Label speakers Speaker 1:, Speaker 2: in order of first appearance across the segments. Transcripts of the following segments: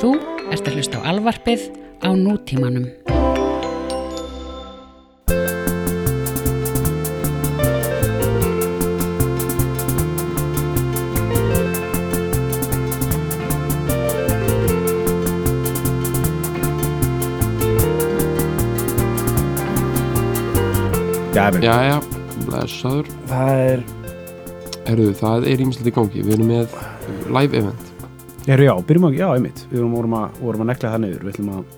Speaker 1: Þú ert að hlusta á alvarpið á nútímanum.
Speaker 2: Gæfin,
Speaker 3: Jæja, blessaður
Speaker 4: Það er,
Speaker 3: Herðu, það er ímislegt í gangi Við erum með live event
Speaker 4: eru já, byrjum að, já, einmitt Við vorum, vorum, að, vorum að nekla það niður Við ætlum að,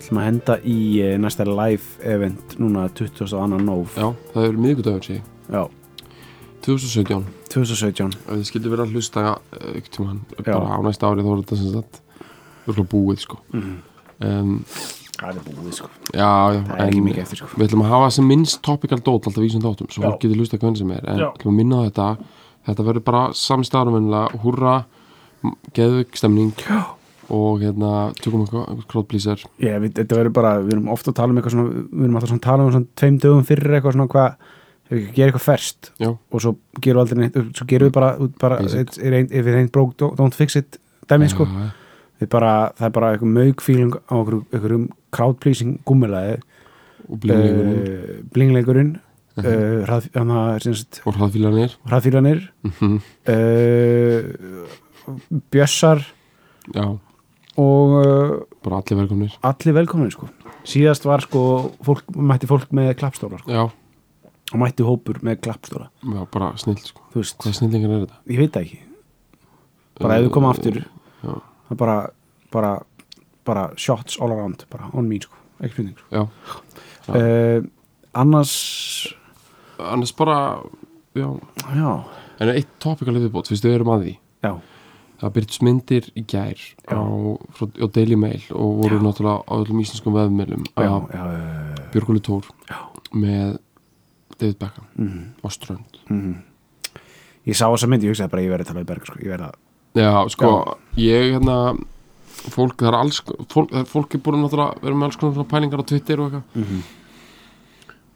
Speaker 4: ætlum að henda í eh, næsta live event núna 22. nóf
Speaker 3: Já, það er miðvikudagur sé ég.
Speaker 4: já,
Speaker 3: 2017
Speaker 4: 2017
Speaker 3: Ef þið skildi vera að hlusta ekkert um hann
Speaker 4: Já.
Speaker 3: Bara á næsta ári þá var þetta sem sagt Örgulega búið sko
Speaker 4: Mhm.
Speaker 3: um,
Speaker 4: Það er búið sko
Speaker 3: Já, já
Speaker 4: Það er ekki mikið eftir sko
Speaker 3: Við ætlum að hafa sem minnst topical dót alltaf í þessum þáttum Svo
Speaker 4: Já.
Speaker 3: fólk getur hlusta hvern sem er En
Speaker 4: Já.
Speaker 3: ætlum að minna á þetta Þetta verður bara samstæðanvennilega Húrra, geðvik stemning
Speaker 4: Já.
Speaker 3: Og hérna, tökum eitthvað Crowdpleaser
Speaker 4: Ég, við, þetta verður bara, við erum ofta að tala um eitthvað svona Við erum alltaf svona að tala um svona tveim dögum fyrir eitthvað svona hvað Ef við gerum eitthvað ferst
Speaker 3: Já,
Speaker 4: Og svo gerum við aldrei neitt Svo gerum við bara, út bara
Speaker 3: Basic.
Speaker 4: it's- it ain't- If it ain't broke, don't- don't fix it Dæmi sko
Speaker 3: Já, já.
Speaker 4: Við bara, það er bara eitthvað mögfíling á okkur, okkur um crowd pleasing gummilaði
Speaker 3: og blingleikurinn
Speaker 4: Eh, blingleikurinn uh, hraðfýlanir
Speaker 3: Og hraðfílarnir Mhm.
Speaker 4: uh, bjössar
Speaker 3: Já,
Speaker 4: og uh,
Speaker 3: bara allir velkomnir
Speaker 4: allir velkomin sko. síðast var sko fólk, mætti fólk með klappstóla sko.
Speaker 3: Já,
Speaker 4: og mætti hópur með klappstóla
Speaker 3: já bara snill sko.
Speaker 4: þú veist,
Speaker 3: Hvað snillingar er þetta?
Speaker 4: ég veit það ekki bara ef við koma aftur
Speaker 3: já.
Speaker 4: það er bara, bara, bara shots all around, bara on me sko. ekki spurning sko.
Speaker 3: Já, Já.
Speaker 4: uh, annars
Speaker 3: annars bara Já,
Speaker 4: já,
Speaker 3: en eitt topikal viðbót, fyrst við erum að því
Speaker 4: já,
Speaker 3: Það byrjtist myndir í gær á, frá, á Daily Mail og voru náttúrulega á öllum íslenskum veðmjölum
Speaker 4: já,
Speaker 3: að
Speaker 4: já, já, já.
Speaker 3: Björgóli Tór
Speaker 4: Já.
Speaker 3: með David Beckham
Speaker 4: Mhm.
Speaker 3: á Strönd
Speaker 4: Mhm. Ég sá þessa mynd, ég hugsaði bara ég verði að tala við Berg sko. ég verði að,
Speaker 3: Já, sko, ég hérna fólk, það er alls fólk, það er- fólk er búin að náttúrulega vera með alls konar svona pælingar á Twitter og eitthvað
Speaker 4: Mhm.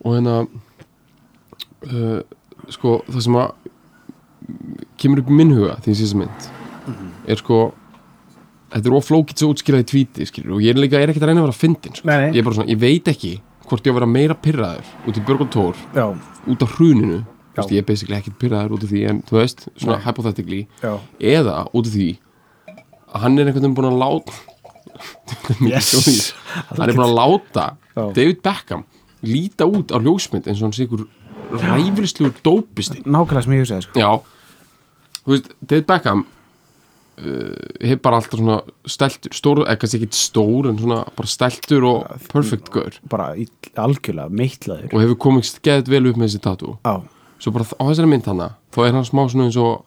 Speaker 3: og hérna uh, sko, það sem að kemur upp í minn huga því síðan mynd
Speaker 4: Mhm.
Speaker 3: er sko þetta er oflókitt svo útskýrað í tvíti skilur, og ég er líka, ég er ekkert að reyna að vera fyndin sko.
Speaker 4: Nei, nei.
Speaker 3: ég er bara svona, ég veit ekki hvort ég á að vera meira pyrraður út í Björgól Tór
Speaker 4: já,
Speaker 3: út af hruninu, Þú
Speaker 4: Já.
Speaker 3: veist, ég er basically ekkert pyrraður út af því, en þú veist, svona hypothetically
Speaker 4: já
Speaker 3: eða út af því að hann er einhvern veginn búin að láta
Speaker 4: Yes.
Speaker 3: yes. hann er búin að láta
Speaker 4: Já.
Speaker 3: David Beckham líta út á ljósmynd eins og hann sé ykkur ræfilslugur dópisti
Speaker 4: Nákvæmlega sem ég hugsaði sko.
Speaker 3: já, þú veist, David Beckham uh, hefur bara alltaf svona steltur, stór, eða kannski ekki stór en svona bara steltur og perfect gaur
Speaker 4: bara í, algjörlega meitlaður
Speaker 3: og hefur komist geðið vel upp með þessi tattoo
Speaker 4: Já,
Speaker 3: svo bara á þessari mynd hana þá er hann smá svona eins og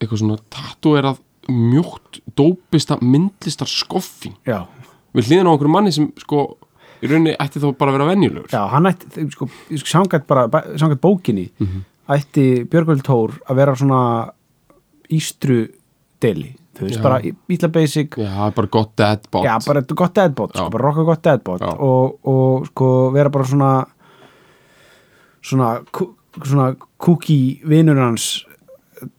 Speaker 3: eitthvað svona tatuerað mjótt dópista myndlistar skoffin
Speaker 4: já,
Speaker 3: við hlýðin á einhverjum manni sem sko í rauninni ætti þá bara að vera venjulegur
Speaker 4: já, hann ætti þau, sko, sangat bara, bæ- samkvæmt bókinni
Speaker 3: Mhm.
Speaker 4: ætti Björgvöld Tór að vera svona ístru deli, þú veist,
Speaker 3: Já.
Speaker 4: bara ítla basic,
Speaker 3: já, það er bara gott dead bot
Speaker 4: já, bara þetta gott deadbot, sko,
Speaker 3: Já.
Speaker 4: bara rocka gott deadbot
Speaker 3: Já.
Speaker 4: og, og sko vera bara svona svona, kú- svona kúki vinnur hans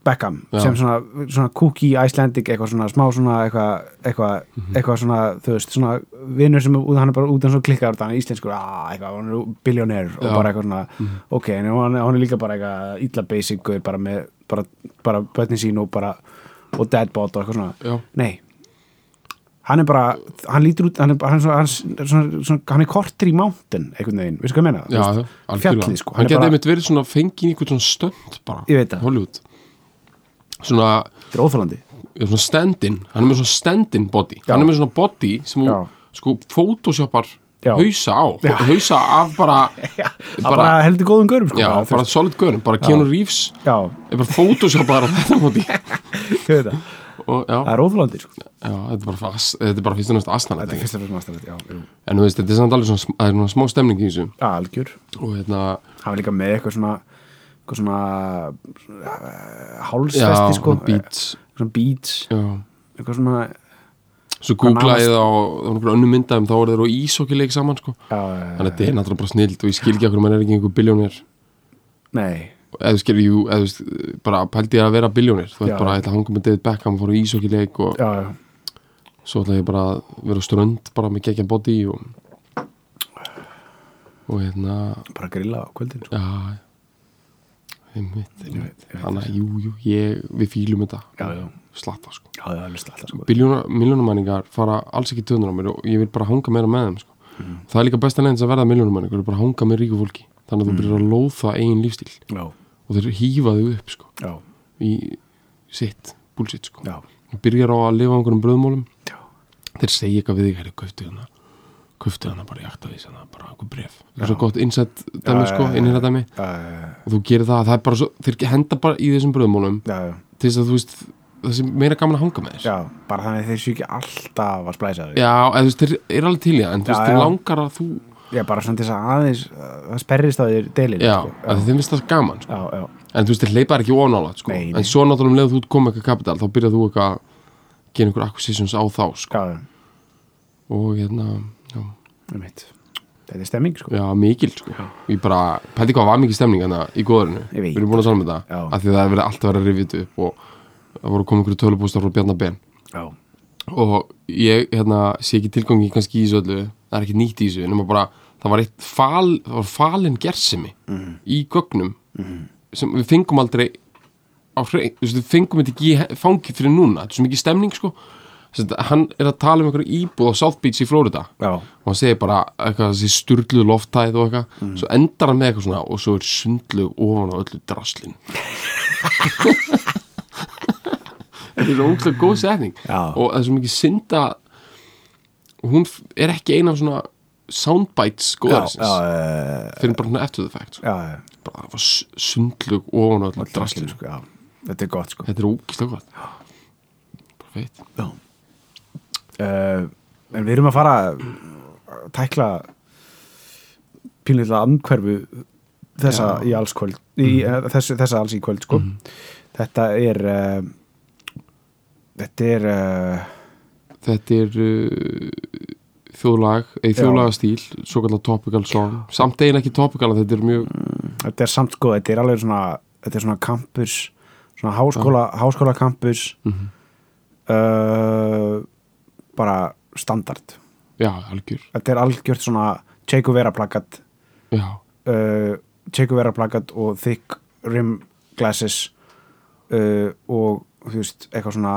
Speaker 4: Beckham,
Speaker 3: Já.
Speaker 4: sem svona, svona kúki Icelandic, eitthvað svona smá svona eitthvað, eitthvað,
Speaker 3: Mhm.
Speaker 4: eitthvað svona þú veist, svona vinnur sem er út- hann er bara út en svo klikkar út, hann er íslenskur, aaa, eitthvað hann er biljónir og
Speaker 3: Já. Mhm.
Speaker 4: bara eitthvað svona ok, en hann, hann er líka bara eitthvað illa basic, gaur, bara með, bara, bara bötni sín og bara, og deadbot og eitthvað svona
Speaker 3: já,
Speaker 4: Nei Hann er bara, hann lítur út hann er, bara- hann er, svona, hann, er svona, svona, hann er kortur í mountain einhvern veginn, veistu hvað ég meina? Þú
Speaker 3: já,
Speaker 4: veist,
Speaker 3: já, algjörlega.
Speaker 4: fjallið sko,
Speaker 3: hann
Speaker 4: hann er
Speaker 3: getið
Speaker 4: bara,
Speaker 3: einmitt verið svona fengið í einhvern svona stönd bara
Speaker 4: Ég veit það.
Speaker 3: Hollywood svona,
Speaker 4: þetta er óþólandi
Speaker 3: já, svona stand-in hann er með svona stand-in body
Speaker 4: Já.
Speaker 3: hann er með svona body sem hún
Speaker 4: Já.
Speaker 3: sko photoshoppar
Speaker 4: Já.
Speaker 3: hausa á hausa af bara
Speaker 4: bara, bara heldur góðum görum sko,
Speaker 3: Já,
Speaker 4: bara, þú
Speaker 3: bara
Speaker 4: veist,
Speaker 3: solid görn, bara Keanu Reeves
Speaker 4: já,
Speaker 3: er bara photoshopaðar á þetta móti
Speaker 4: ég veit það,
Speaker 3: og já,
Speaker 4: það er óþólandi sko.
Speaker 3: já þetta er bara, fast, þetta er bara fyrst og næst astana
Speaker 4: þetta er fyrsta fyrir maður já, jú.
Speaker 3: en þú veist, þetta er samt alveg svona, sm- það er svona smá stemning í þessu
Speaker 4: algjör,
Speaker 3: og hérna,
Speaker 4: hann er líka með eitthvað svona eitthvað svona uh,
Speaker 3: já,
Speaker 4: hálsvesti sko
Speaker 3: svona beats
Speaker 4: eh, svona beats
Speaker 3: já.
Speaker 4: eitthvað svona,
Speaker 3: svo
Speaker 4: Hvað
Speaker 3: googla
Speaker 4: nánast-
Speaker 3: ég það og það var einhverjum önnu myndaðum þá voru þeir á ísokkileik saman sko
Speaker 4: já, já, já,
Speaker 3: þannig að þetta er náttúrulega bara snild og ég skil ekki okkur mann er ekki einhver biljónir
Speaker 4: nei
Speaker 3: eða þú skilur, jú, eða þú veist bara pældi ég að vera biljónir þú veit
Speaker 4: Já.
Speaker 3: bara, þetta hangum með David Beckham og fóru í ísokkileik og
Speaker 4: já, já,
Speaker 3: svo ætla ég bara að vera á strönd bara með gegja body og og hérna
Speaker 4: bara grilla á kvöldin sko.
Speaker 3: já einmitt,
Speaker 4: Ég veit-
Speaker 3: einmitt
Speaker 4: ég veit
Speaker 3: þannig að jú, jú, ég, við fýlum þetta
Speaker 4: Já, já.
Speaker 3: slatta sko
Speaker 4: já, já, alveg alltaf sko.
Speaker 3: miljónumæningar fara alls ekki töðnur á mér og ég vil bara hanga meira með þeim sko.
Speaker 4: Mm.
Speaker 3: það er líka besta leiðin til að verða miljónumæningur er bara að hanga með ríku fólki þannig að
Speaker 4: Mm.
Speaker 3: þú byrjar að lóða eigin lífstíl
Speaker 4: já,
Speaker 3: og þeir hýfa þau upp sko,
Speaker 4: já,
Speaker 3: í sitt, bullshit sko.
Speaker 4: já,
Speaker 3: Þú byrjar á að lifa á einhverjum bröðmólum
Speaker 4: já.
Speaker 3: þeir segja eitthvað við þig, herri, kauftu hana kauftu hana hérna bara í aktavís hana, bara einhver bref það er svo
Speaker 4: Já.
Speaker 3: gott innsett dæmi,
Speaker 4: Já,
Speaker 3: sko,
Speaker 4: já, já,
Speaker 3: innherra dæmi
Speaker 4: Uh,
Speaker 3: og þú gerir það, það er bara svo, þeir henda bara í þessum bröðmólum
Speaker 4: já, já,
Speaker 3: til þess að þú veist, það sé meira gaman að hanga með þess
Speaker 4: já, bara þannig að þeir séu ekki alltaf að splæsa þau
Speaker 3: Já, eða þú veist, þeir eru alveg til í það en þú
Speaker 4: Já,
Speaker 3: veist, þeir
Speaker 4: já.
Speaker 3: langar að þú
Speaker 4: Já, bara svona til þess að aðeins að sperrist á þér deilinu
Speaker 3: Já,
Speaker 4: sko.
Speaker 3: að þeim finnst það gaman sko.
Speaker 4: já, já,
Speaker 3: en þú veist, þeir leipa þær ekki onála sko.
Speaker 4: Nei, nei.
Speaker 3: en svo náttúrulega um leið og þú ert komið eitthvað kapital þá byrjar þú eitthvað að gera einhver acquisitions á þá sko.
Speaker 4: já, já,
Speaker 3: og hérna, já,
Speaker 4: um mitt Þetta er stemming, sko
Speaker 3: já mikil sko. ég bara, pæti hvað var mikil stemning hana, í góðurinu,
Speaker 4: Ég veit.
Speaker 3: við erum búin að tala um þetta
Speaker 4: Já.
Speaker 3: af því það er verið alltaf verið að rifja þetta upp og það voru komið einhverju tölupóstar frá Bjarnar Ben
Speaker 4: Já,
Speaker 3: og ég hérna, sé ekki tilgangi kannski í þessu öllu það er ekki nýtt í þessu nema bara það var, eitt fal, það var falin gersemi í gögnum sem við fengum aldrei á hrein, þú veist við fengum þetta ekki í he- fangið fyrir núna, þetta er svo mikið stemning sko Þess að hann er að tala um einhverju íbúð á South Beach í Florida
Speaker 4: já,
Speaker 3: og hann segir bara eitthvað þessi sturlu loftæð og eitthvað
Speaker 4: Mm.
Speaker 3: svo endar hann með eitthvað svona og svo er sundlu ofan á öllu draslin þetta er svo ógstlega góð setning
Speaker 4: Já.
Speaker 3: og það er svo mikið synda hún f- er ekki eina af svona soundbites
Speaker 4: já, já,
Speaker 3: góðarisins
Speaker 4: eh,
Speaker 3: fyrir bara svona eftir the fact sko.
Speaker 4: já, já,
Speaker 3: bara það var sundlu ofan á öllu
Speaker 4: drastlinn,
Speaker 3: draslin
Speaker 4: sko, já Þetta er gott, sko
Speaker 3: þetta er ógstlega gott bara feitt
Speaker 4: Já uh, En við erum að fara að tækla pínlega andhverfu þessa
Speaker 3: Já.
Speaker 4: í alls kvöld í, mm. þessa, þessa alls í kvöld, sko Þetta er uh, Þetta er uh,
Speaker 3: þetta er uh, þjóðlag, eða þjóðlagastíl svo kallar topical song, samt eiginlega ekki topical en þetta er mjög,
Speaker 4: þetta er samt sko, þetta er alveg svona þetta er svona campus svona háskóla, háskóla campus uh, bara standard
Speaker 3: já, algjör
Speaker 4: þetta er algjört svona Che Guevara plakat
Speaker 3: já,
Speaker 4: uh, Che Guevara plakat og thick rim glasses uh, og þú veist, eitthvað svona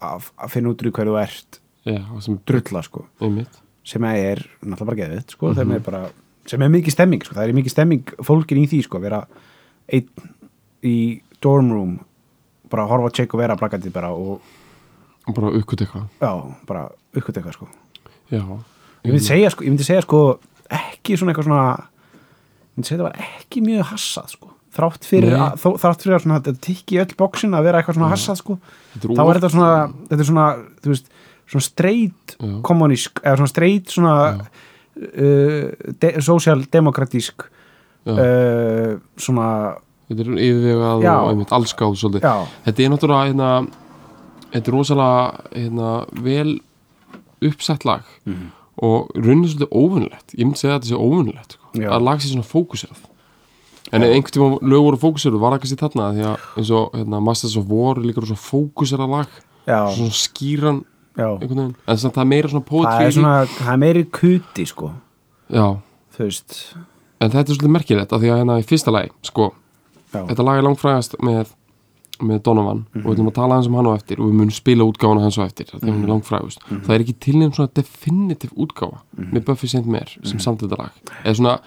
Speaker 4: að að finna út úr hverju þú ert
Speaker 3: já, það sem er
Speaker 4: drulla sko,
Speaker 3: einmitt,
Speaker 4: sem að er náttúrulega bara geðið, sko, þeim er bara sem er mikið stemming, sko, það er mikið stemming fólkin í því, sko, að vera einn í dorm room bara að horfa að tjekka og vera plakatið bara og,
Speaker 3: og bara uppkvæmt eitthvað
Speaker 4: já, bara uppkvæmt eitthvað, sko
Speaker 3: já,
Speaker 4: ég
Speaker 3: Mm.
Speaker 4: myndi segja, sko, ég myndi segja, sko ekki svona eitthvað svona ég myndi segja það var ekki mjög hassað, sko þrátt fyrir,
Speaker 3: Nei. Mm.
Speaker 4: að, þó, þrátt fyrir að svona, þetta tikki í öll bóksin að vera eitthvað svona hassað, sko
Speaker 3: Þetta er
Speaker 4: þá
Speaker 3: of-
Speaker 4: er þetta svona, þetta er svona þú veist, svona streit
Speaker 3: Já.
Speaker 4: kommunísk, eða svona streit svona uh, de sósjaldemokratísk
Speaker 3: Já.
Speaker 4: uh, svona
Speaker 3: þetta er yfirvegað
Speaker 4: Já.
Speaker 3: og einmitt allskáð svolítið,
Speaker 4: Já.
Speaker 3: þetta er náttúrulega hérna, þetta er rosalega hérna, vel uppsett lag
Speaker 4: Mhm.
Speaker 3: og runnið svolítið óvinnlegt, ég myndi segja að þetta sé óvinnlegt sko.
Speaker 4: Já.
Speaker 3: að lag sé svona fókuserað en ef einhvern tíma lög voru fókuserað var það kannski þarna því að eins og hérna, Masters of War er líka svona fókuserað lag
Speaker 4: Já.
Speaker 3: svona skýran
Speaker 4: Já.
Speaker 3: einhvern veginn en samt það er meira svona
Speaker 4: það
Speaker 3: poetry
Speaker 4: er
Speaker 3: í-
Speaker 4: svona, það er meiri kuti sko,
Speaker 3: já,
Speaker 4: þú veist
Speaker 3: en þetta er svolítið merkilegt af því að hérna í fyrsta lagi sko,
Speaker 4: já,
Speaker 3: þetta lag er langfrægast með, með Donovan og við ætlum að tala hans um hann á eftir og við munum spila útgáfana hans á eftir mm -hmm.
Speaker 4: Mhm.
Speaker 3: er langfrægust það er ekki tilnefn svona definitiv útgáfa
Speaker 4: Mhm.
Speaker 3: með Buffy St. Mare sem samt þetta lag eða svona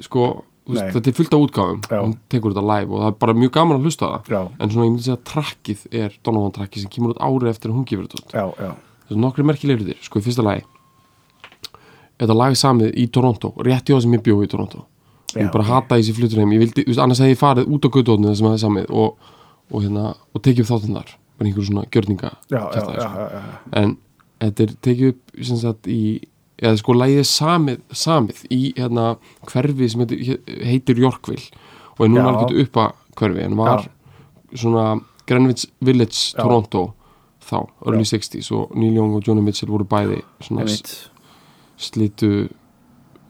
Speaker 3: sko, þú
Speaker 4: Nei.
Speaker 3: veist, þetta er fullt af útgáfum
Speaker 4: Já.
Speaker 3: hún tekur þetta live og það er bara mjög gaman að hlusta á það
Speaker 4: Já.
Speaker 3: en svona ég myndi segja að trakkið er Donovan trakkið sem kemur út árið eftir að hún gefur þetta út
Speaker 4: já, já,
Speaker 3: þessu nokkri merkilegri þér, sko, í fyrsta lagi þetta lag er samið í Toronto rétt í það sem ég bjóð í Toronto
Speaker 4: Já,
Speaker 3: ég bara
Speaker 4: ok.
Speaker 3: hata þessi flutur heim, ég vildi, þú veist, annars hefði ég farið út á gautóðinu það sem það er samið og, og, hérna, og tekið upp þáttinn þar bara einhverjum svona gjörninga
Speaker 4: já, já,
Speaker 3: kjaftaði,
Speaker 4: já,
Speaker 3: sko.
Speaker 4: já, já.
Speaker 3: en þetta er tekið upp sem sagt í eða sko lagið er samið, samið í hérna hverfi sem heitir, heitir Yorkville og er núna
Speaker 4: Já.
Speaker 3: alveg uppa hverfi en var
Speaker 4: Já.
Speaker 3: svona Greenwich Village
Speaker 4: Já.
Speaker 3: Toronto þá, early 60s og Neil Young og Johnny Mitchell voru bæði svona
Speaker 4: Einmitt.
Speaker 3: slitu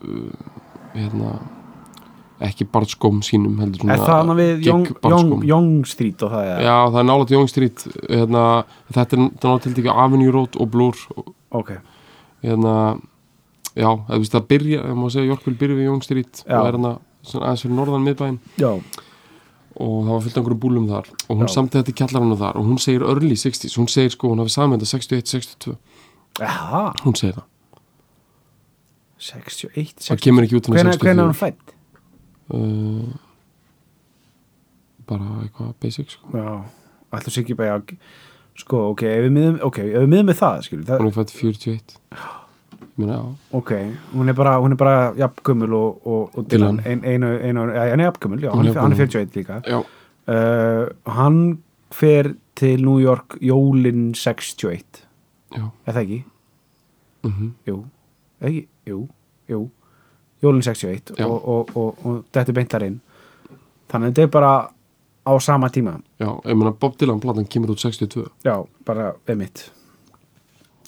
Speaker 3: uh, hérna ekki barnskóm sínum heldur svona
Speaker 4: er það hann við
Speaker 3: Hérna, gigg
Speaker 4: Young,
Speaker 3: barnskóm.
Speaker 4: Young, Young Street og það er
Speaker 3: Já, það er nálægt Young Street hérna, þetta er nálægt til tekið Avenue Road og Blur og,
Speaker 4: ok,
Speaker 3: hérna, já, það, veist, það byrja það má segja, Yorkville byrja við Young Street
Speaker 4: Já.
Speaker 3: og er hérna svona aðeins fyrir norðan miðbæinn
Speaker 4: já,
Speaker 3: og það var fullt af einhverjum búlum þar og hún
Speaker 4: Já.
Speaker 3: samti þetta í kjallarana þar og hún segir early 60s, hún segir sko, hún hafi samenda 61-62,
Speaker 4: aha
Speaker 3: hún segir það
Speaker 4: 61,
Speaker 3: það
Speaker 4: 60
Speaker 3: kemur ekki út
Speaker 4: hvenær hvenær er hún fætt?
Speaker 3: uh, bara eitthvað basic sko.
Speaker 4: já, ætlum sér ekki bara já, sko, ok, ef við miðum ok, ef við miðum með það, skilur það,
Speaker 3: hún er fætt 41 ég meina, já,
Speaker 4: ok, hún er bara, hún er bara jafngömmul og, og, og
Speaker 3: Dylan.
Speaker 4: Dylan ein, einu, einu, ja, hann er jafngömmul, já,
Speaker 3: Hún
Speaker 4: hann,
Speaker 3: er
Speaker 4: er- hann er
Speaker 3: jafngömmul.
Speaker 4: 41 líka
Speaker 3: já,
Speaker 4: uh, hann fer til New York jólin 61
Speaker 3: já
Speaker 4: er það ekki?
Speaker 3: mm
Speaker 4: Jú, eða ekki, jú, jú Jólin 61
Speaker 3: Já.
Speaker 4: og, og, og, og þetta er beint þar inn þannig að þetta er bara á sama tíma
Speaker 3: já, ég meina Bob Dylan platan kemur út 62
Speaker 4: já, bara einmitt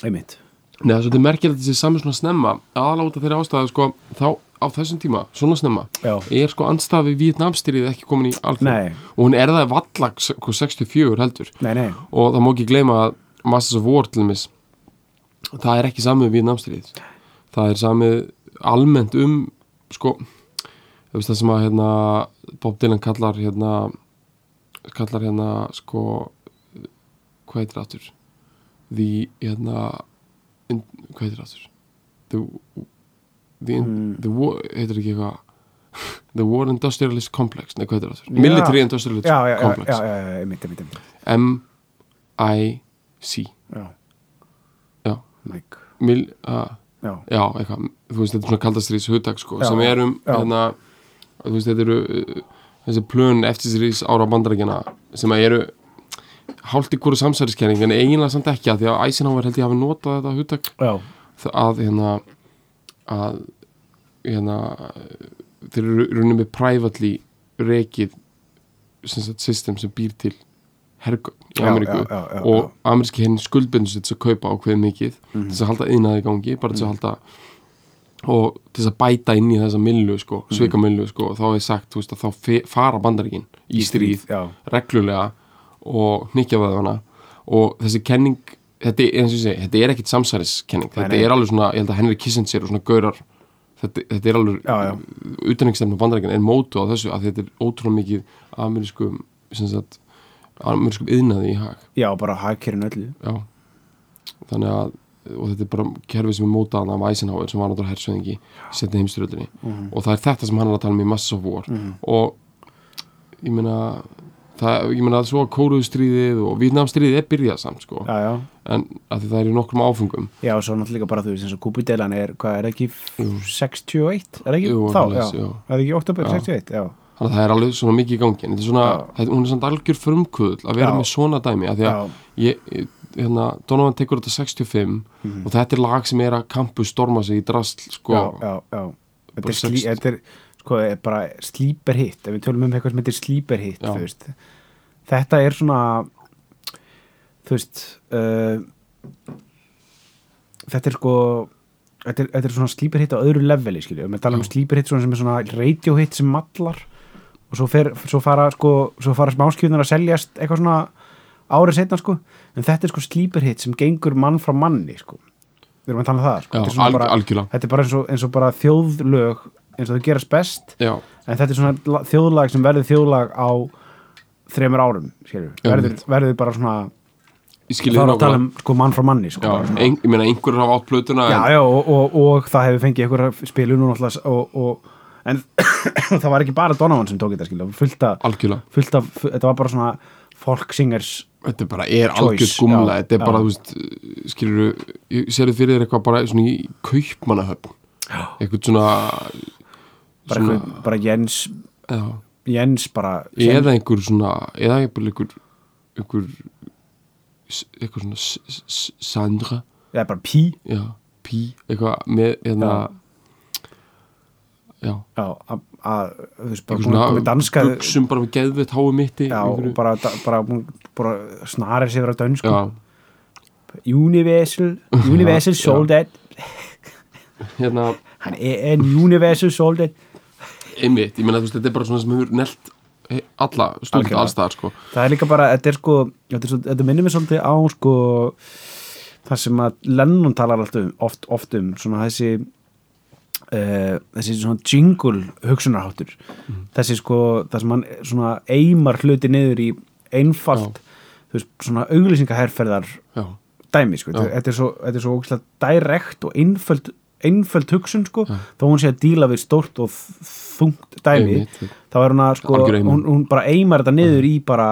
Speaker 4: einmitt
Speaker 3: Nei, það er svolítið merkilegt þessi saman svona snemma aðláta þeirri ástæðu sko þá á þessum tíma, svona snemma
Speaker 4: Já.
Speaker 3: er sko andstafi Vietnamstyrið ekki komin í
Speaker 4: Nei.
Speaker 3: alþjóð og hún er það sko, vallag 64 heldur
Speaker 4: nei, nei,
Speaker 3: og það má ekki gleyma að Masters of War til þeimis það er ekki samið við námstríð það er samið almennt um sko þú veist það sem að hérna, Bob Dylan kallar hérna, kallar hérna sko hvað heitir aftur því hérna in, hvað heitir aftur the, the,
Speaker 4: Mm.
Speaker 3: the war heitir ekki eitthvað The War Industrialist Complex, nei hvað heitir aftur
Speaker 4: Já.
Speaker 3: Military Industrialist
Speaker 4: já, já, já,
Speaker 3: Complex
Speaker 4: já, já, já, einmitt, einmitt, einmitt.
Speaker 3: M-I-C
Speaker 4: Já.
Speaker 3: Já.
Speaker 4: Mike.
Speaker 3: Mil, a,
Speaker 4: já,
Speaker 3: Já, eitthvað Þú veist, þetta er svona kaldastrís hugtak sko,
Speaker 4: Já,
Speaker 3: sem er um
Speaker 4: já.
Speaker 3: hérna, þú veist, þetta eru uh, þessi plön eftir strís ára bandarækjana sem að eru hálft í hverju samsæriskenning en eiginlega samt ekki að því að Eisenhower held ég hafi notað þetta hugtak
Speaker 4: já,
Speaker 3: þ- að hérna að hérna þeir eru runni með privately rekið sem sagt, system sem býr til hergögn í
Speaker 4: Já,
Speaker 3: Ameríku
Speaker 4: já, já, já, Mhm.
Speaker 3: og ameríski henni skuldbundur sér til að kaupa á hverju mikið til þess að halda innað í gangi bara til þess að halda og til þess að bæta inn í þessa millu sko,
Speaker 4: Mhm.
Speaker 3: svikamillu sko, þá er sagt þú veist, að þá fe- fara bandaríkin í stríð
Speaker 4: já,
Speaker 3: reglulega og hnykkjavöðvana og þessi kenning þetta er, eins og ég segi, þetta er ekkit samsæriskenning
Speaker 4: Nei,
Speaker 3: þetta
Speaker 4: nei.
Speaker 3: er alveg svona, ég held að Henry Kissinger og svona gaurar þetta, þetta er alveg
Speaker 4: Já, já.
Speaker 3: utanriksstefna bandarækjan er mótu á þessu að þetta er ótrúlega mikið amerískum sem sagt, amerískum yðnaði í hag
Speaker 4: já, bara hagkerinn öllu
Speaker 3: já þannig að, og þetta er bara kerfið sem er mótaðan af Eisenhower sem var náttúrulega hersöðingi setna heimstyrjöldinni
Speaker 4: Mhm.
Speaker 3: og það er þetta sem hann er að tala um í Mass of War
Speaker 4: Mhm.
Speaker 3: og ég meina það, ég meina að svo að kóruðstríðið og Vítnamstríðið er byrjað samt sko
Speaker 4: já, já,
Speaker 3: en að því það er í nokkrum áfungum
Speaker 4: já, svo náttúrulega bara þú veist eins og kúpidelan er, hvað er það ekki f- 61, er það ekki
Speaker 3: Jú,
Speaker 4: þá,
Speaker 3: svoleiðis,
Speaker 4: já,
Speaker 3: já.
Speaker 4: er það ekki oktober
Speaker 3: Já.
Speaker 4: 61, já,
Speaker 3: þannig að það er alveg svona mikið í gangi en þetta er svona, þetta, hún er samt algjör frumkvöðl að vera
Speaker 4: Já.
Speaker 3: með svona dæmi að því að
Speaker 4: já,
Speaker 3: ég, ég- hérna, Donovan tekur þetta 65
Speaker 4: Mhm.
Speaker 3: og þetta er lag sem er að kampu storma sig í drasl sko
Speaker 4: já, já, já. Þetta,
Speaker 3: Bara
Speaker 4: er slí,
Speaker 3: sex-
Speaker 4: þetta er sko, er bara slíper hitt ef við tölum um eitthvað sem heitir slíper hitt
Speaker 3: Já.
Speaker 4: þú veist. þetta er svona þú veist uh, þetta er sko þetta er, þetta er svona slíper hitt á öðru leveli skilju, við tala um slíper hitt sem er svona radio hitt sem mallar og svo, fer, svo fara sko, svo fara smáskjöfnar að seljast eitthvað svona árið setna sko, en þetta er sko slíper hitt sem gengur mann frá manni sko við erum að tala um það sko.
Speaker 3: Já,
Speaker 4: Þetta er svona
Speaker 3: alg- algjörlega.
Speaker 4: þetta er bara eins og, eins og bara þjóðlög eins og þau gerast best
Speaker 3: já.
Speaker 4: en þetta er svona la- þjóðlag sem verður þjóðlag á þremur árum skilur,
Speaker 3: Já,
Speaker 4: verður,
Speaker 3: mitt.
Speaker 4: verður bara svona
Speaker 3: ég
Speaker 4: það
Speaker 3: skilja
Speaker 4: er að tala um sko, mann frá manni sko,
Speaker 3: já,
Speaker 4: bara svona.
Speaker 3: ein, ég meina einhverjur hafa átt plötuna
Speaker 4: já,
Speaker 3: en,
Speaker 4: já, og, og, og það hefur fengið einhverja spilun og, náttúrulega s- og, og en það var ekki bara Donovan sem tók þetta skilur, fullt að,
Speaker 3: algjörlega
Speaker 4: fullt að þetta var bara svona folk singers
Speaker 3: þetta er bara er
Speaker 4: Choice,
Speaker 3: algjör skumla
Speaker 4: já,
Speaker 3: þetta er bara,
Speaker 4: já.
Speaker 3: þú veist, skilur ég sér þið fyrir þér eitthvað bara svona í kaupmannahöfn eitthvað svona,
Speaker 4: bara,
Speaker 3: svona
Speaker 4: einhver, bara Jens
Speaker 3: já,
Speaker 4: Jens bara
Speaker 3: eða einhver svona eða einhver einhver einhver, einhver svona s- s- Sandra
Speaker 4: eða bara Pí
Speaker 3: já, Pí, eitthvað með hérna já,
Speaker 4: já, að, að, þú veist, bara
Speaker 3: einhver
Speaker 4: komið- komið danska
Speaker 3: buxum bara með geðveitt háu mitti
Speaker 4: Já, og
Speaker 3: einhverju-
Speaker 4: bara, bara, hún bara snarir sér að dönsku
Speaker 3: já,
Speaker 4: Universal, Universal
Speaker 3: Já.
Speaker 4: Soldat
Speaker 3: hérna
Speaker 4: hann er en Universal Soldat
Speaker 3: einmitt, ég meina þú veist, þetta er bara svona sem hefur nelt he- alla stúdenta
Speaker 4: Algjörlega.
Speaker 3: allstaðar sko.
Speaker 4: það er líka bara, þetta er sko þetta, er svo, þetta minnir mér svolítið á sko, það sem að Lennon talar alltaf um, oft, oft um svona þessi uh, þessi svona jingle hugsunarháttur þessi sko, það sem hann svona eimar hluti niður í einfalt þú veist, svona auglýsingaherferðar
Speaker 3: Já,
Speaker 4: dæmi, sko,
Speaker 3: Já.
Speaker 4: þetta er svo, þetta er svo ógeðslega direkt og einföld einföld hugsun, sko,
Speaker 3: Já.
Speaker 4: þó hún sé að díla við stórt og þungt dæmi
Speaker 3: einmitt
Speaker 4: þá er hún að sko,
Speaker 3: Algjör eimin.
Speaker 4: hún, hún bara eimar þetta niður í bara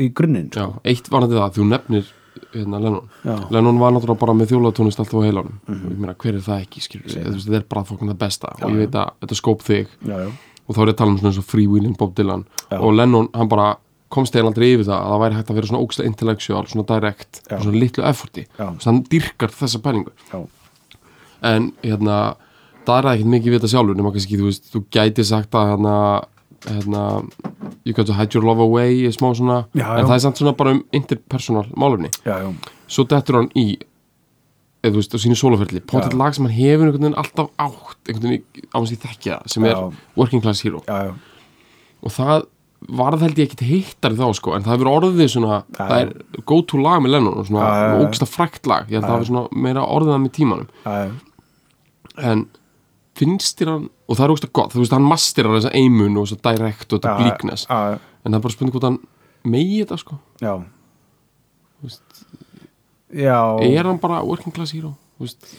Speaker 4: í grunninn, sko.
Speaker 3: Já, eitt varandi það, þú nefnir hérna Lennon,
Speaker 4: Já.
Speaker 3: Lennon var náttúrulega bara með þjólatónist alltaf á heilanum ég meina, hver er það ekki, skilur,
Speaker 4: Segðu.
Speaker 3: þú veist, þetta er bara fólkna það besta og
Speaker 4: Já,
Speaker 3: ég
Speaker 4: já.
Speaker 3: veit að þetta skóp þig
Speaker 4: Já, já,
Speaker 3: og þá er ég að tala um svona eins og freewheeling Bob Dylan
Speaker 4: Já.
Speaker 3: og Lennon, hann bara komst eða aldrei yfir það að það væri hægt að vera svona ógsta intellectual, svona direct,
Speaker 4: Já.
Speaker 3: og svona litlu efforti,
Speaker 4: Já.
Speaker 3: þannig hann dyrkar þessa pælingu
Speaker 4: já,
Speaker 3: en hérna það er ekkert mikið við þetta sjálfur nema kannski þú veist, þú gæti sagt að hérna, hérna you got to hide your love away er smá svona,
Speaker 4: Já, já.
Speaker 3: en það er samt svona bara um interpersonal málefni,
Speaker 4: já, já,
Speaker 3: svo dettur hann í eða þú veist, á sínu sólaferli potið
Speaker 4: Já.
Speaker 3: lag sem hann hefur einhvern veginn alltaf átt einhvern veginn á hans í þekkja það, sem
Speaker 4: Já.
Speaker 3: er working class hero
Speaker 4: já, já.
Speaker 3: og það varð held ég ekkit hittar þá sko, en það hefur orðið svona
Speaker 4: Já.
Speaker 3: það er go to lag með Lennon og svona
Speaker 4: Já, já, já.
Speaker 3: ógsta frækt lag, ég held að það
Speaker 4: Já.
Speaker 3: hefur svona meira orðið það með tímanum
Speaker 4: já, já.
Speaker 3: en finnst þér hann og það er ógst að gott, þú veist, hann masterar þessa eimun og þessa direkt og þetta
Speaker 4: Já,
Speaker 3: blíknes
Speaker 4: já, já,
Speaker 3: en það er bara spurning hvort hann megi þetta sko,
Speaker 4: já.
Speaker 3: Þú veist.
Speaker 4: Já,
Speaker 3: er hann bara working class hero, þú veist,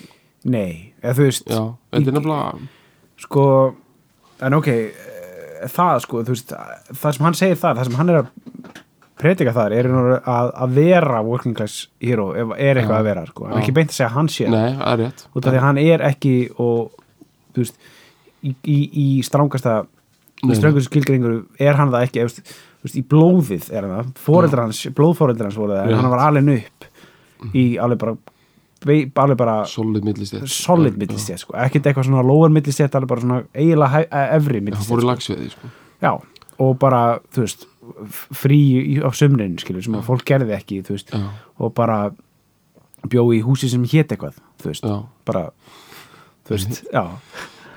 Speaker 4: nei, eða þú veist,
Speaker 3: já þetta er nefnilega,
Speaker 4: sko, en ok, eh, það sko, þú veist, það sem hann segir það, það sem hann er að predika þar er í raun og veru að, að vera working class hero, ef- er eitthvað
Speaker 3: Já.
Speaker 4: að vera, sko, en
Speaker 3: Já.
Speaker 4: ekki beint að segja að hann sé það.
Speaker 3: nei, það er rétt
Speaker 4: út af því að hann er ekki og, þú veist, í, í, í strángasta
Speaker 3: Nei,
Speaker 4: í
Speaker 3: nei.
Speaker 4: ströngustu skilgringur er hann það ekki efst, þú veist, í blóðið er hann það fóreldrar hans, blóðfóreldrar hans voru það en
Speaker 3: Rétt.
Speaker 4: hann var alveg upp í alveg bara, vei- alveg bara
Speaker 3: solid millistið,
Speaker 4: solid millistjætt sko. ekkert eitthvað svona lower millistjætt alveg bara svona eiginlega hæ- eh, efri
Speaker 3: það
Speaker 4: millistjætt
Speaker 3: fór í
Speaker 4: sko.
Speaker 3: lagsveði sko.
Speaker 4: Já, og bara, þú veist f- frí í- á sumrin, skilur sem að fólk gerði ekki, þú veist
Speaker 3: já,
Speaker 4: og bara bjó í húsi sem hét eitthvað, þú veist
Speaker 3: já,
Speaker 4: bara, þú veist, já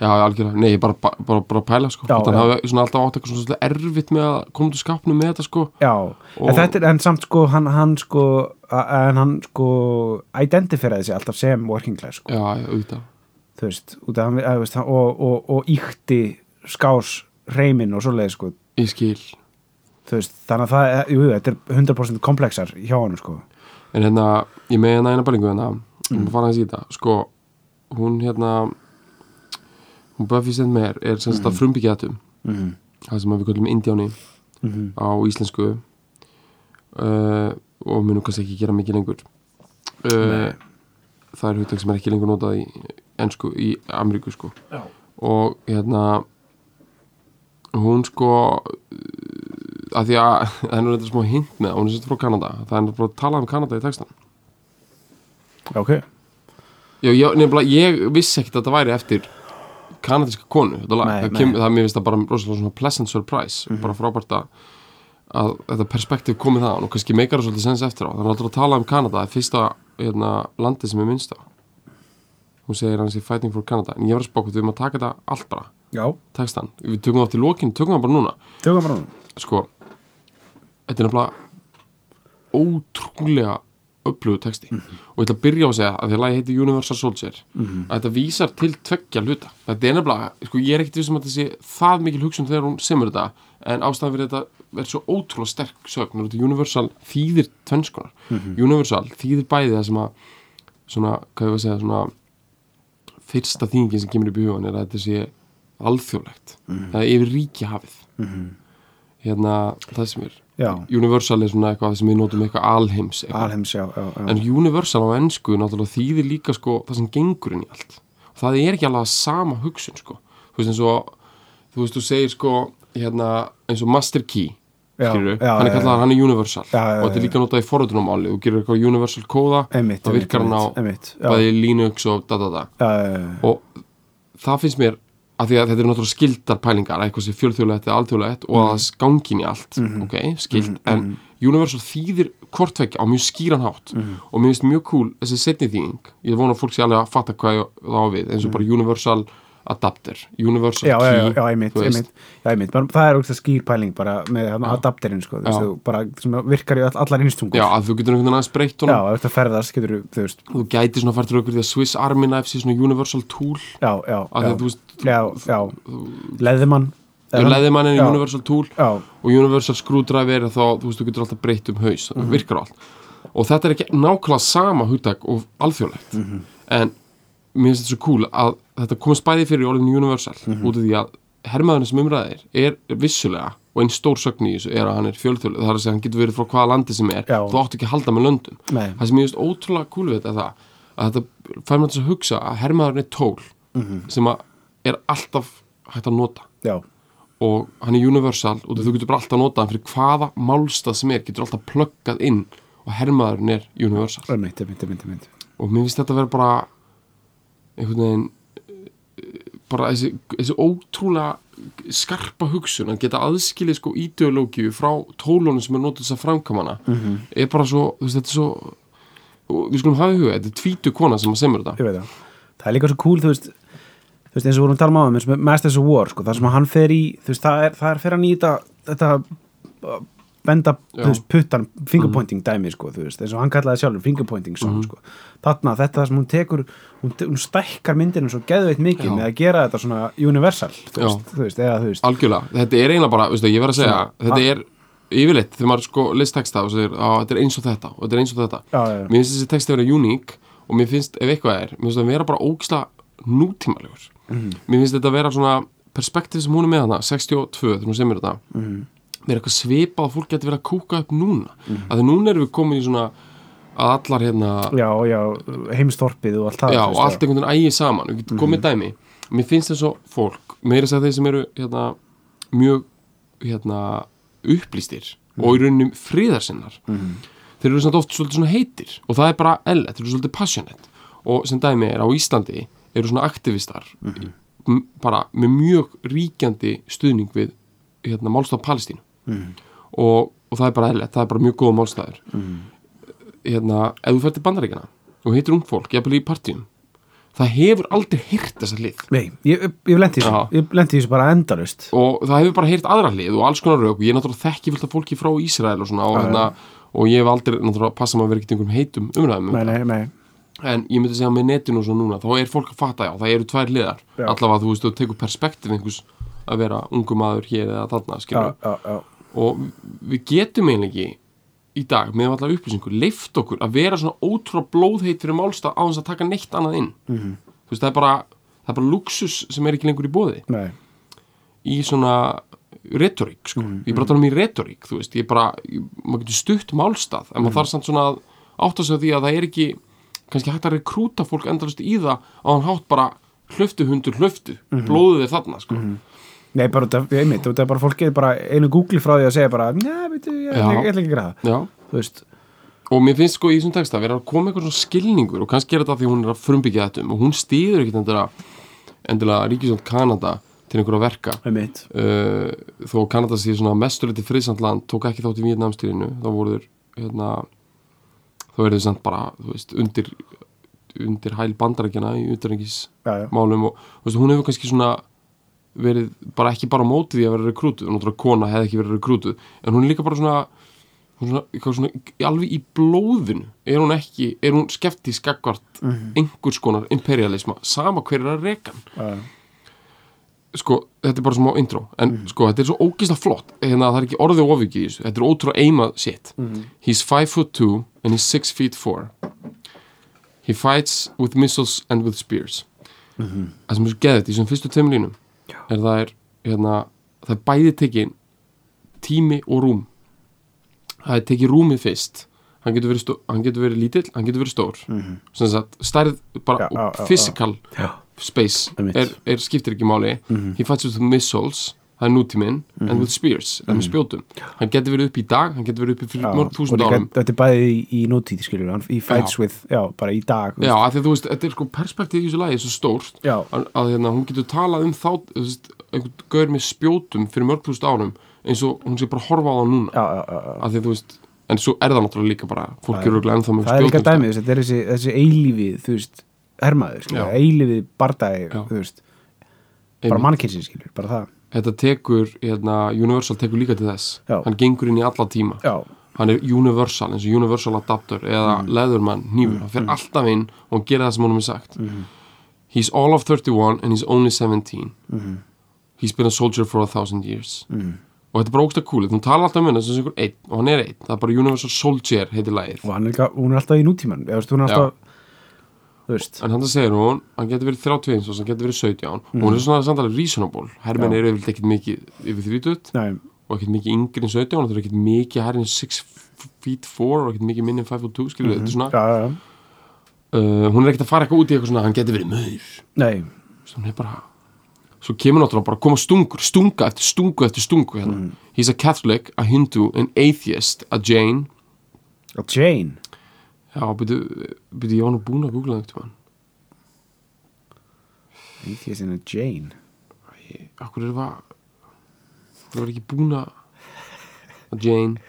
Speaker 3: já, algjörlega nei, ég bara, bara, bara, bara að pæla sko,
Speaker 4: Já,
Speaker 3: þannig
Speaker 4: já.
Speaker 3: að hafa svona alltaf átt eitthvað svona svolítið erfitt með að koma til skapnum með þetta sko
Speaker 4: Já,
Speaker 3: Og-
Speaker 4: en þetta er, en samt sko hann, hann sko, a- en hann sko identiferaði sig alltaf sem working class sko,
Speaker 3: já, já, auðvitað,
Speaker 4: þú veist, út af hann, að, þú veist, hann- og, og, og íkti skás reymin og svoleiði sko,
Speaker 3: ég skil
Speaker 4: þú veist, þannig að það, jú, jú, þetta er 100% komplexar hjá hann sko,
Speaker 3: En hérna, ég með hérna eina bælingu hérna, mm. fara hans í þetta, sko, hún hérna, hún Buffy St. Meir er sem sagt að frumbyggja þetta
Speaker 4: mm.
Speaker 3: það sem að við kallum Indiáni
Speaker 4: Mhm.
Speaker 3: á íslensku uh, og munum kannski ekki gera mikið lengur. Uh, það er hugtak sem er ekki lengur notað í ennsku, í Ameríku, sko.
Speaker 4: Já.
Speaker 3: Og hérna, hún sko, að því að, það er nú þetta smá hint með, það, hún er sérst frá Kanada, það er náttúrulega að tala um Kanada í textan.
Speaker 4: ok,
Speaker 3: Já, já nefnilega, ég vissi ekkert að þetta væri eftir kanadíska konu, þetta lag
Speaker 4: Nei,
Speaker 3: það,
Speaker 4: nei. Mhm.
Speaker 3: kem, það mér finnst það bara rosalega svona pleasant surprise bara frábært að, að þetta perspektíf komið það og kannski meikar það svolítið sens eftir á þannig að alltaf að tala um Kanada, það er fyrsta hérna, landið sem er minnst á hún segir hann sé fighting for Canada en ég var að spá hvort við erum að taka þetta allt bara
Speaker 4: já,
Speaker 3: textan, við tökum það til lokin, tökum það bara núna
Speaker 4: tökum bara hún
Speaker 3: sko, þetta er nefnilega ótrúlega upplöfu texti og ég ætla að byrja á að segja að því að lagi heiti Universal Soldier að þetta vísar til tveggja hluta þetta er nefnilega, sko ég er ekkert vissum að þetta sé það mikil hugsun þegar hún semur þetta en ástæðan fyrir þetta er svo ótrúlega sterk sögn og þetta Universal þýðir tvennskonar, Universal þýðir bæði það sem að svona, hvað ég var að segja, svona fyrsta þýðingin sem kemur upp í hugan er að þetta sé alþjóðlegt það er yfir ríki hafið hérna, það sem er
Speaker 4: já,
Speaker 3: Universal er svona eitthvað sem við notum eitthvað alheims eitthvað.
Speaker 4: alheims, já, já, já
Speaker 3: en Universal á ennsku náttúrulega þýðir líka sko það sem gengur inn í allt og það er ekki alveg sama hugsun sko þú veist eins og þú veist þú segir sko hérna eins og Master Key
Speaker 4: Já,
Speaker 3: skilurðu,
Speaker 4: já,
Speaker 3: hann er
Speaker 4: já,
Speaker 3: kallað
Speaker 4: já.
Speaker 3: hann er Universal
Speaker 4: Já, já,
Speaker 3: og þetta
Speaker 4: já,
Speaker 3: er líka notað í forðunumáli þú gerir eitthvað Universal kóða
Speaker 4: einmitt,
Speaker 3: það
Speaker 4: einmitt,
Speaker 3: virkar hann á
Speaker 4: einmitt, einmitt, já,
Speaker 3: bæði Linux og da da da
Speaker 4: já, já, já,
Speaker 3: og það finnst mér að því að þetta eru náttúrulega skildar pælingar að eitthvað sem fjölþjóðlegt eða alþjóðlegt og að
Speaker 4: Mhm.
Speaker 3: það gangi inn í allt, ok, skild en Universal þýðir kortvekja á mjög skýran hátt
Speaker 4: Mhm.
Speaker 3: og mér finnst mjög cool þessi setni þýðing, ég vona að fólk sé alveg að fatta hvað ég- það á við eins og bara Universal adapter, universal
Speaker 4: Mhm. já,
Speaker 3: key
Speaker 4: já, já, einmitt,
Speaker 3: þú veist.
Speaker 4: einmitt, já, einmitt. Bara, það er ógst að skýr pæling bara með hana,
Speaker 3: Já.
Speaker 4: adapterin sko, þú
Speaker 3: Já.
Speaker 4: veist, þú bara sem virkar í all, allar innstungur
Speaker 3: já, að þú getur einhvern veginn aðeins breytt
Speaker 4: já
Speaker 3: honum
Speaker 4: ef þetta ferðast getur þú veist,
Speaker 3: þú gæti svona fært til okkur því að Swiss Army Knife sé svona universal tool
Speaker 4: já, já,
Speaker 3: að því að
Speaker 4: já,
Speaker 3: þú veist,
Speaker 4: já, já. leðimann
Speaker 3: þú leðið mannin
Speaker 4: Já.
Speaker 3: universal tool
Speaker 4: já,
Speaker 3: og universal screwdriver er þá, þú veist, þú getur alltaf breytt um haus
Speaker 4: Mhm.
Speaker 3: það virkar allt og þetta er ekki nákvæmlega sama hugtak og alþjóðlegt
Speaker 4: Mhm.
Speaker 3: en mér finnst þetta svo cool að þetta komast bæði fyrir í orðinu universal
Speaker 4: Mhm.
Speaker 3: út af því að hermaðurinn sem umræðir er vissulega og einn stór sögn í þessu er að hann er fjölþjóðleg það er að segja að hann getur verið frá hvaða landi sem er
Speaker 4: Já.
Speaker 3: þú átt ekki að halda með löndum
Speaker 4: Nei.
Speaker 3: það sem mér finnst ótrúlega cool við þetta er það að þetta fær maður til að hugsa að hermaðurinn er tól
Speaker 4: Mhm.
Speaker 3: sem að er alltaf hægt að nota
Speaker 4: já,
Speaker 3: og hann er universal og þú getur bara alltaf að nota hann fyrir hvaða málstað sem er, getur alltaf pluggað inn og hermaðurinn er universal
Speaker 4: einmitt, einmitt, einmitt, einmitt.
Speaker 3: og mér finnst þetta að vera bara einhvern veginn eh, bara þessi, þessi ótrúlega skarpa hugsun að geta aðskilið sko ideológíu frá tólunum sem er notið þess að framkamana -hmm. er bara svo, þú veist, þetta er svo og við skulum hafa í huga, þetta er tvítu kona sem að semur þetta
Speaker 4: ég veit það það er líka svo cool þú veist þú veist eins og við vorum að tala um áðan, eins og með Masters of War sko, það sem hann fer í þú veist það er, það er fer hann í þetta þetta uh, benda þú veist, puttan
Speaker 3: Mhm.
Speaker 4: fingerpointing dæmi sko, þú veist eins og hann kallaði sjálfur fingerpointing song, sko. þarna þetta það sem hún tekur hún, te- hún stækkar myndinu svo geðveitt mikið
Speaker 3: Já.
Speaker 4: með að gera þetta svona universal þú
Speaker 3: Já.
Speaker 4: veist, þú veist, eða þú veist
Speaker 3: algjörlega, þetta er eiginlega bara, veistu, ég verð að segja þetta er yfirleitt, þegar maður sko list texta og segir, á, þetta er eins og þetta og þetta er eins og þetta
Speaker 4: Já, já, já.
Speaker 3: mér finnst þessi texti að vera uník og mér finnst, ef eitthvað er, mér finnst það að vera bara ógisla nútímalegur
Speaker 4: Mhm.
Speaker 3: mér finnst þetta að vera svona perspektíf sem hún er með hana, 62, þegar hún semur þetta mm
Speaker 4: Mhm.
Speaker 3: -hmm. mér er eitthvað svipað að fólk getur verið að kúka upp núna
Speaker 4: Mhm.
Speaker 3: að því núna erum við komin í svona að allar hérna
Speaker 4: já, já, heimstorpið og allt það
Speaker 3: já,
Speaker 4: þú
Speaker 3: og
Speaker 4: veist, Mhm.
Speaker 3: allt einhvern veginn ægi saman við getum komið dæmi, mér finnst þess að fólk meira þess að þeir sem eru hérna, mjög hérna, upplýstir
Speaker 4: Mhm.
Speaker 3: og í rauninni friðarsinnar þeir eru samt oft svolítið svona heitir og það er bara ellet, þeir eru svolítið passionate og sem dæmi er á Íslandi eru svona aktivistar
Speaker 4: Mhm.
Speaker 3: m- bara með mjög ríkjandi stuðning við hérna, málstaf Palestínu
Speaker 4: Mhm.
Speaker 3: og, og það er bara ellet, það er bara mjög góða málstafur hérna, ef þú fer til bandaríkjana og heitir ung fólk, jafnvel í partíum það hefur aldrei heyrt þessa hlið
Speaker 4: nei, ég, ég, ég lendi í þessu
Speaker 3: Já.
Speaker 4: ég lendi í þessu bara endalust
Speaker 3: og það hefur bara heyrt aðra hlið og alls konar rauk og ég er náttúrulega þekki fullt af fólki frá Ísrael og svona og, hérna, og ég hef aldrei náttúrulega passa maður að vera ekkert í einhverjum heitum umræðum um
Speaker 4: nei, nei, nei,
Speaker 3: það. en ég myndi segja með netinu og svona núna þá er fólk að fatta já, það eru tvær hliðar
Speaker 4: Já.
Speaker 3: allavega þú veist, þú tekur perspektíf einhvers að vera ungu maður hér eða þarna
Speaker 4: já,
Speaker 3: skilur.
Speaker 4: já, já
Speaker 3: og við getum eiginlega ekki í dag með allar upplýsingu leift okkur að vera svona ótrúlega blóðheit fyrir málstað á þess að taka neitt annað inn -hmm. þú veist það er bara það er bara luxus sem er ekki lengur í bóði
Speaker 4: nei,
Speaker 3: í svona retorík sko. ég er bara að tala um í retorík þú veist ég er bara, ég, maður getur stutt málstað en maður þarf samt svona að átta sig á því að það er ekki kannski hægt að rekrúta fólk endalist í það á hann hátt bara hlöftu hundur hlöftu blóðið er þarna sko
Speaker 4: Nei, bara út af, ég einmitt, út af bara fólk getur bara einu googli frá því að segja bara, njá, veitu, ég ætla
Speaker 3: Já.
Speaker 4: ekki- ég ætla ekki að gera það.
Speaker 3: já
Speaker 4: Þú veist,
Speaker 3: og mér finnst sko í þessum texta vera að koma eitthvað svona skilningur og kannski er þetta af því að hún er að frumbyggja þetta um og hún stýður ekkit endilega, endilega Ríkisjónd Kanada til einhverja verka
Speaker 4: einmitt,
Speaker 3: uh, þó Kanada sé svona mesturleiti friðsamt land tók ekki þátt í Víðnamstýrinu þá voru þeir hérna, þá eru þeir samt bara þú veist, undir, undir hæl bandarækjana í utanrengis
Speaker 4: já, já,
Speaker 3: málum og þú veist, hún hefur kannski svona verið bara ekki bara á móti því að vera rekrútuð, náttúrulega kona hefði ekki verið rekrútuð en hún er líka bara svona, hún er svona, eitthvað svona í- alveg í blóðinu er hún ekki, er hún skeptisk akkvart
Speaker 4: Mhm.
Speaker 3: einhvers konar imperialisma sama hver er að reka hann
Speaker 4: já, já.
Speaker 3: sko, þetta er bara smá intro en
Speaker 4: Mhm.
Speaker 3: sko, þetta er svo ógislega flott hérna, það er ekki orðið ofvikið í þessu, þetta er ótrúlega eimað shit,
Speaker 4: Mhm.
Speaker 3: he's 5 foot 2 and he's 6 feet 4 he fights with missiles and with spears
Speaker 4: Mhm.
Speaker 3: það sem er svo geðið, í þessum fyrstu tveim línum er það er, hérna það er bæði tekin tími og rúm það er tekið rúmið fyrst hann getur verið, stó- hann getur verið lítill, hann getur verið stór mm -hmm. sem sagt, stærð bara
Speaker 4: Mhm. Já, já, já, já.
Speaker 3: physical
Speaker 4: já,
Speaker 3: space
Speaker 4: Einmitt. Mhm.
Speaker 3: er, er, skiptir ekki máli he fights with missiles það er nútíminn, and with spears mm -hmm. spjótum, hann getur verið upp í dag hann getur verið upp í fyrir mörg
Speaker 4: Mhm. og
Speaker 3: þúsund
Speaker 4: líka,
Speaker 3: árum
Speaker 4: þetta er bæði í, í nútíð, skiljum, hann í fights
Speaker 3: Já.
Speaker 4: with, já, bara í dag,
Speaker 3: já, af því að þú veist, þetta er sko perspektíð í þessu lagi er svo stórt
Speaker 4: Já.
Speaker 3: að, að hérna, hún getur talað um þá þú veist, einhvern gaur með spjótum fyrir mörg þúsund árum eins og hún sé bara að horfa á það núna
Speaker 4: já, já, já, já.
Speaker 3: af því að þú veist, en svo er það náttúrulega líka bara fólk eru örugglega ennþá með
Speaker 4: það er líka
Speaker 3: spjótum sko.
Speaker 4: dæmið, þess að þetta er þessi, þessi eilífið, þú veist, hermaður, skiljum,
Speaker 3: Já.
Speaker 4: eilífið bardagi, þú
Speaker 3: Já.
Speaker 4: veist, bara
Speaker 3: Einmitt.
Speaker 4: mannkynsin skilur, bara það
Speaker 3: þetta tekur, hérna, Universal tekur líka til þess
Speaker 4: Já.
Speaker 3: hann gengur inn í alla tíma
Speaker 4: já,
Speaker 3: hann er Universal, eins og Universal Adapter eða
Speaker 4: Mm.
Speaker 3: Leatherman, nýfur, hann fer alltaf inn og hann gerir það sem honum er sagt
Speaker 4: Mm.
Speaker 3: he's all of 31 and he's only 17
Speaker 4: Mm.
Speaker 3: he's been a soldier for a thousand years og þetta er bara ógsta cool, hún talar alltaf um henni sem einhver einn, og hann er einn, það er bara Universal Soldier heitir lagið,
Speaker 4: og hann er, líka- hún er alltaf í nútíman eða, þú veist, hún er
Speaker 3: Já.
Speaker 4: alltaf þú veist,
Speaker 3: en hann það segir hún hann getur verið 31, eins og hann getur verið 17 og hún er svona samtalið reasonable, hermenn
Speaker 4: Mm. Já.
Speaker 3: eru yfirleitt ekkert mikið yfir 30
Speaker 4: næ,
Speaker 3: og ekkert mikið yngri en 17 og það er ekkert mikið hærri en 6 feet 4 og ekkert mikið minni en 5 foot 2 skilur þetta er
Speaker 4: Mhm. já,
Speaker 3: svona
Speaker 4: já, já,
Speaker 3: uh, hún er ekkert að fara eitthvað út í eitthvað svona hann geti verið maur
Speaker 4: nei
Speaker 3: Svo hún er bara svo kemur náttúrulega bara að koma stungur stunga eftir stungu eftir stungu hérna. he's a Catholic, a Hindu, an atheist a Jain
Speaker 4: og Jane,
Speaker 3: já, byrju, byrju, ég var nú búin að googla það einhvern veginn
Speaker 4: atheistin er Jane
Speaker 3: akkur er það það var ekki búin að a Jain uh,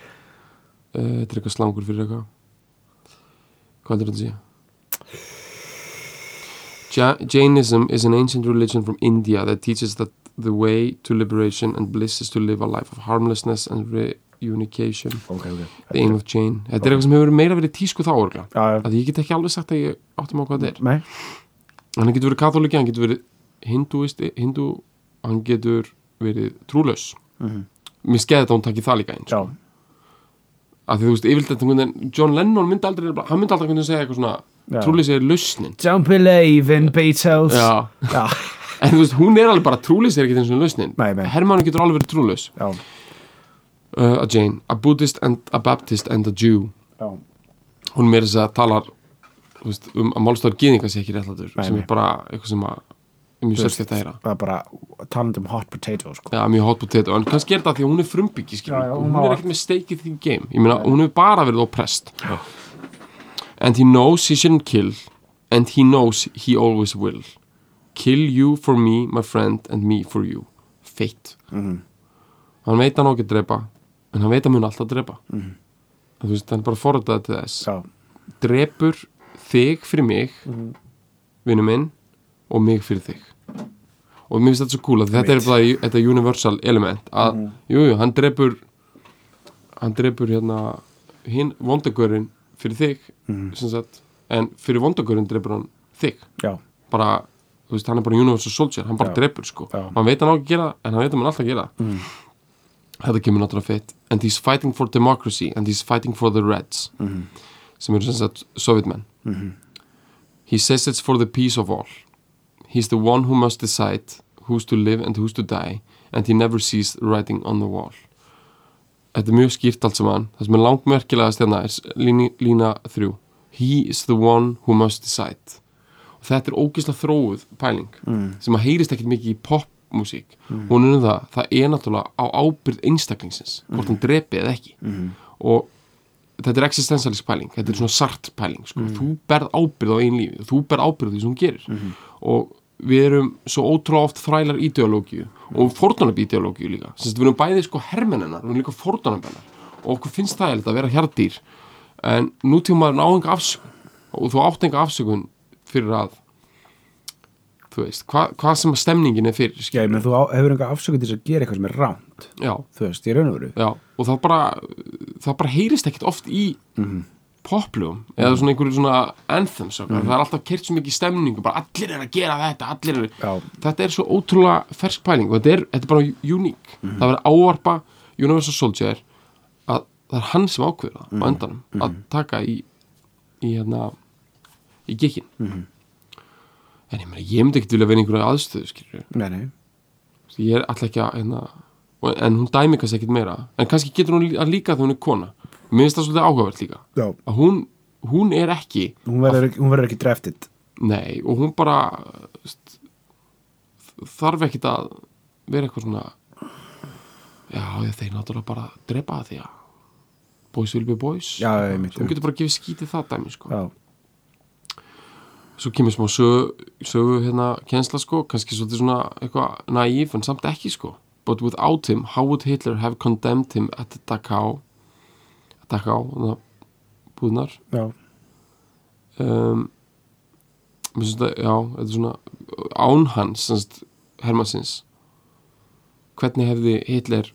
Speaker 3: þetta er eitthvað slangur fyrir eitthvað hvað heldur þetta að segja Ja- Jainism is an ancient religion from India that teaches that the way to liberation and bliss is to live a life of harmlessness and reunification.
Speaker 4: ok, ok,
Speaker 3: The aim of Jain. Þetta er eitthvað sem hefur meira verið í tísku þá orgla.
Speaker 4: já, já,
Speaker 3: Því ég get ekki alveg sagt að ég áttum á hvað þetta er.
Speaker 4: nei
Speaker 3: Hann getur verið katholiki, hann getur verið hinduist, hindu, hann getur verið trúlaus.
Speaker 4: Mhm.
Speaker 3: Mér skeði þetta að hún takki það líka eins.
Speaker 4: já,
Speaker 3: Af því þú veist, yfirleitt þetta, einhvern veginn- John Lennon myndi aldrei, hann myndi aldrei hvernig að segja
Speaker 4: Já.
Speaker 3: eitthvað svona, trúleysi er lausnin.
Speaker 4: don't believe in Beatles Ah,
Speaker 3: Já.
Speaker 4: já,
Speaker 3: En þú veist, hún er alveg bara trúlis er ekki eins og lausnin.
Speaker 4: Nei, nei.
Speaker 3: Hermann getur alveg verið trúlis.
Speaker 4: já,
Speaker 3: Uh, a Jane, a Buddhist and a Baptist and a Jew.
Speaker 4: já,
Speaker 3: Hún meira þess að talar þú veist, um að málstofar gýðinga sé ekki réttlætur
Speaker 4: Nei,
Speaker 3: sem
Speaker 4: nei.
Speaker 3: er bara eitthvað sem að er mjög sérskipt að heyra.
Speaker 4: það er bara talandi um hot potato sko.
Speaker 3: Já, mjög hot potato, en kannski er þetta af því að hún er frumbyggi
Speaker 4: Já,
Speaker 3: skilur,
Speaker 4: já,
Speaker 3: já,
Speaker 4: hún
Speaker 3: hún,
Speaker 4: má
Speaker 3: er
Speaker 4: allt.
Speaker 3: ekkert með steikið því game, ég meina, hún hefur bara verið oppressed And he knows he shouldn't kill and he knows he always will Kill you for me, my friend and me for you Fate Hann veit að hann á ekki að drepa en hann veit að hann mun alltaf drepa mm. Þú veist, hann er bara forröndað til þess
Speaker 4: já,
Speaker 3: Drepur þig fyrir mig mm. vinnu minn og mig fyrir þig og mér finnst þetta svo cool að þetta er
Speaker 4: Einmitt.
Speaker 3: bara í- þetta universal element að, jú, jú, hann drepur hann drepur hérna hinn vondagörinn fyrir þig sem sagt, en fyrir vondagörinn drepur hann þig,
Speaker 4: já,
Speaker 3: bara þú veist, hann er bara universal soldier, hann bara
Speaker 4: Já.
Speaker 3: drepur sko,
Speaker 4: Já. Mm.
Speaker 3: hann veit hann á ekki að gera það, en hann veit að hann alltaf að gera það þetta kemur náttúrulega fett and he's fighting for democracy and he's fighting for the reds
Speaker 4: Mhm.
Speaker 3: sem eru sem sagt sovjetmenn he says it's for the peace of all he's the one who must decide who's to live and who's to die and he never sees writing on the wall þetta er mjög skýrt allt saman það sem er langmerkilegast hérna er s- líni- lína þrjú he is the one who must decide og þetta er ógislega þróuð pæling sem að heyrist ekkert mikið í popmusík hún er um það, það er náttúrulega á ábyrð einstaklingsins hvort hann drepi eða ekki og þetta er existentialist pæling þetta er svona sart pæling sko. þú berð ábyrð á einn lífi þú berð ábyrð á því sem hún gerir og við erum svo ótrúlega oft þrælar ideológíu og fordónab ideológíu líka Sem sagt, við erum bæði sko hermenninnar við erum líka fordónabennar og okkur finnst það að vera hjartýr en nútímaður á enga afsökun og þú átt enga afsökun fyrir að þú veist, hva, hvað sem að stemningin er fyrir
Speaker 4: já, ég menn
Speaker 3: skilurðu.
Speaker 4: þú á, hefur enga afsökun til þess að gera eitthvað sem er rámt
Speaker 3: já,
Speaker 4: þú veist, ég raun og veru
Speaker 3: já, og það bara það bara heyrist ekkit oft í poplugum, eða svona einhverju svona anthems okkar, það er alltaf kert svo mikið í stemningu, bara allir er að gera þetta allir er,
Speaker 4: Já.
Speaker 3: þetta er svo ótrúlega fersk pæling og þetta er, þetta er bara uník það verður ávarpa Universal Soldier að það er hann sem ákveður það á endanum, að taka í í hérna í gikkin en ég, meina, ég myndi ekkit vilja vera í einhverju aðstöðu skilur
Speaker 4: nei, nei,
Speaker 3: ég er alltaf ekki að hérna, og- en hún dæmi kannski ekkit meira en kannski getur hún lí- að líka þegar hún er kona mér finnst það svolítið áhugavert líka
Speaker 4: já,
Speaker 3: að hún, hún er ekki
Speaker 4: hún verður, ekki- hún verður ekki dreftit
Speaker 3: nei, og hún bara st, þarf ekkit að vera eitthvað svona já, já, þeir náttúrulega bara drepa það því að boys will be boys
Speaker 4: já, ég mitt,
Speaker 3: Svo hún getur bara að gefa skítið það dæmi sko.
Speaker 4: já,
Speaker 3: svo kemur smá sögu, sögu hérna, kjensla sko, kannski svolítið svona eitthvað naíf en samt ekki sko but without him, how would Hitler have condemned him at Dachau Dachau, hérna, þannig að búðnar
Speaker 4: já,
Speaker 3: um, mér finnst þetta, já, þetta er svona án hans, semst Hermannsins hvernig hefði Hitler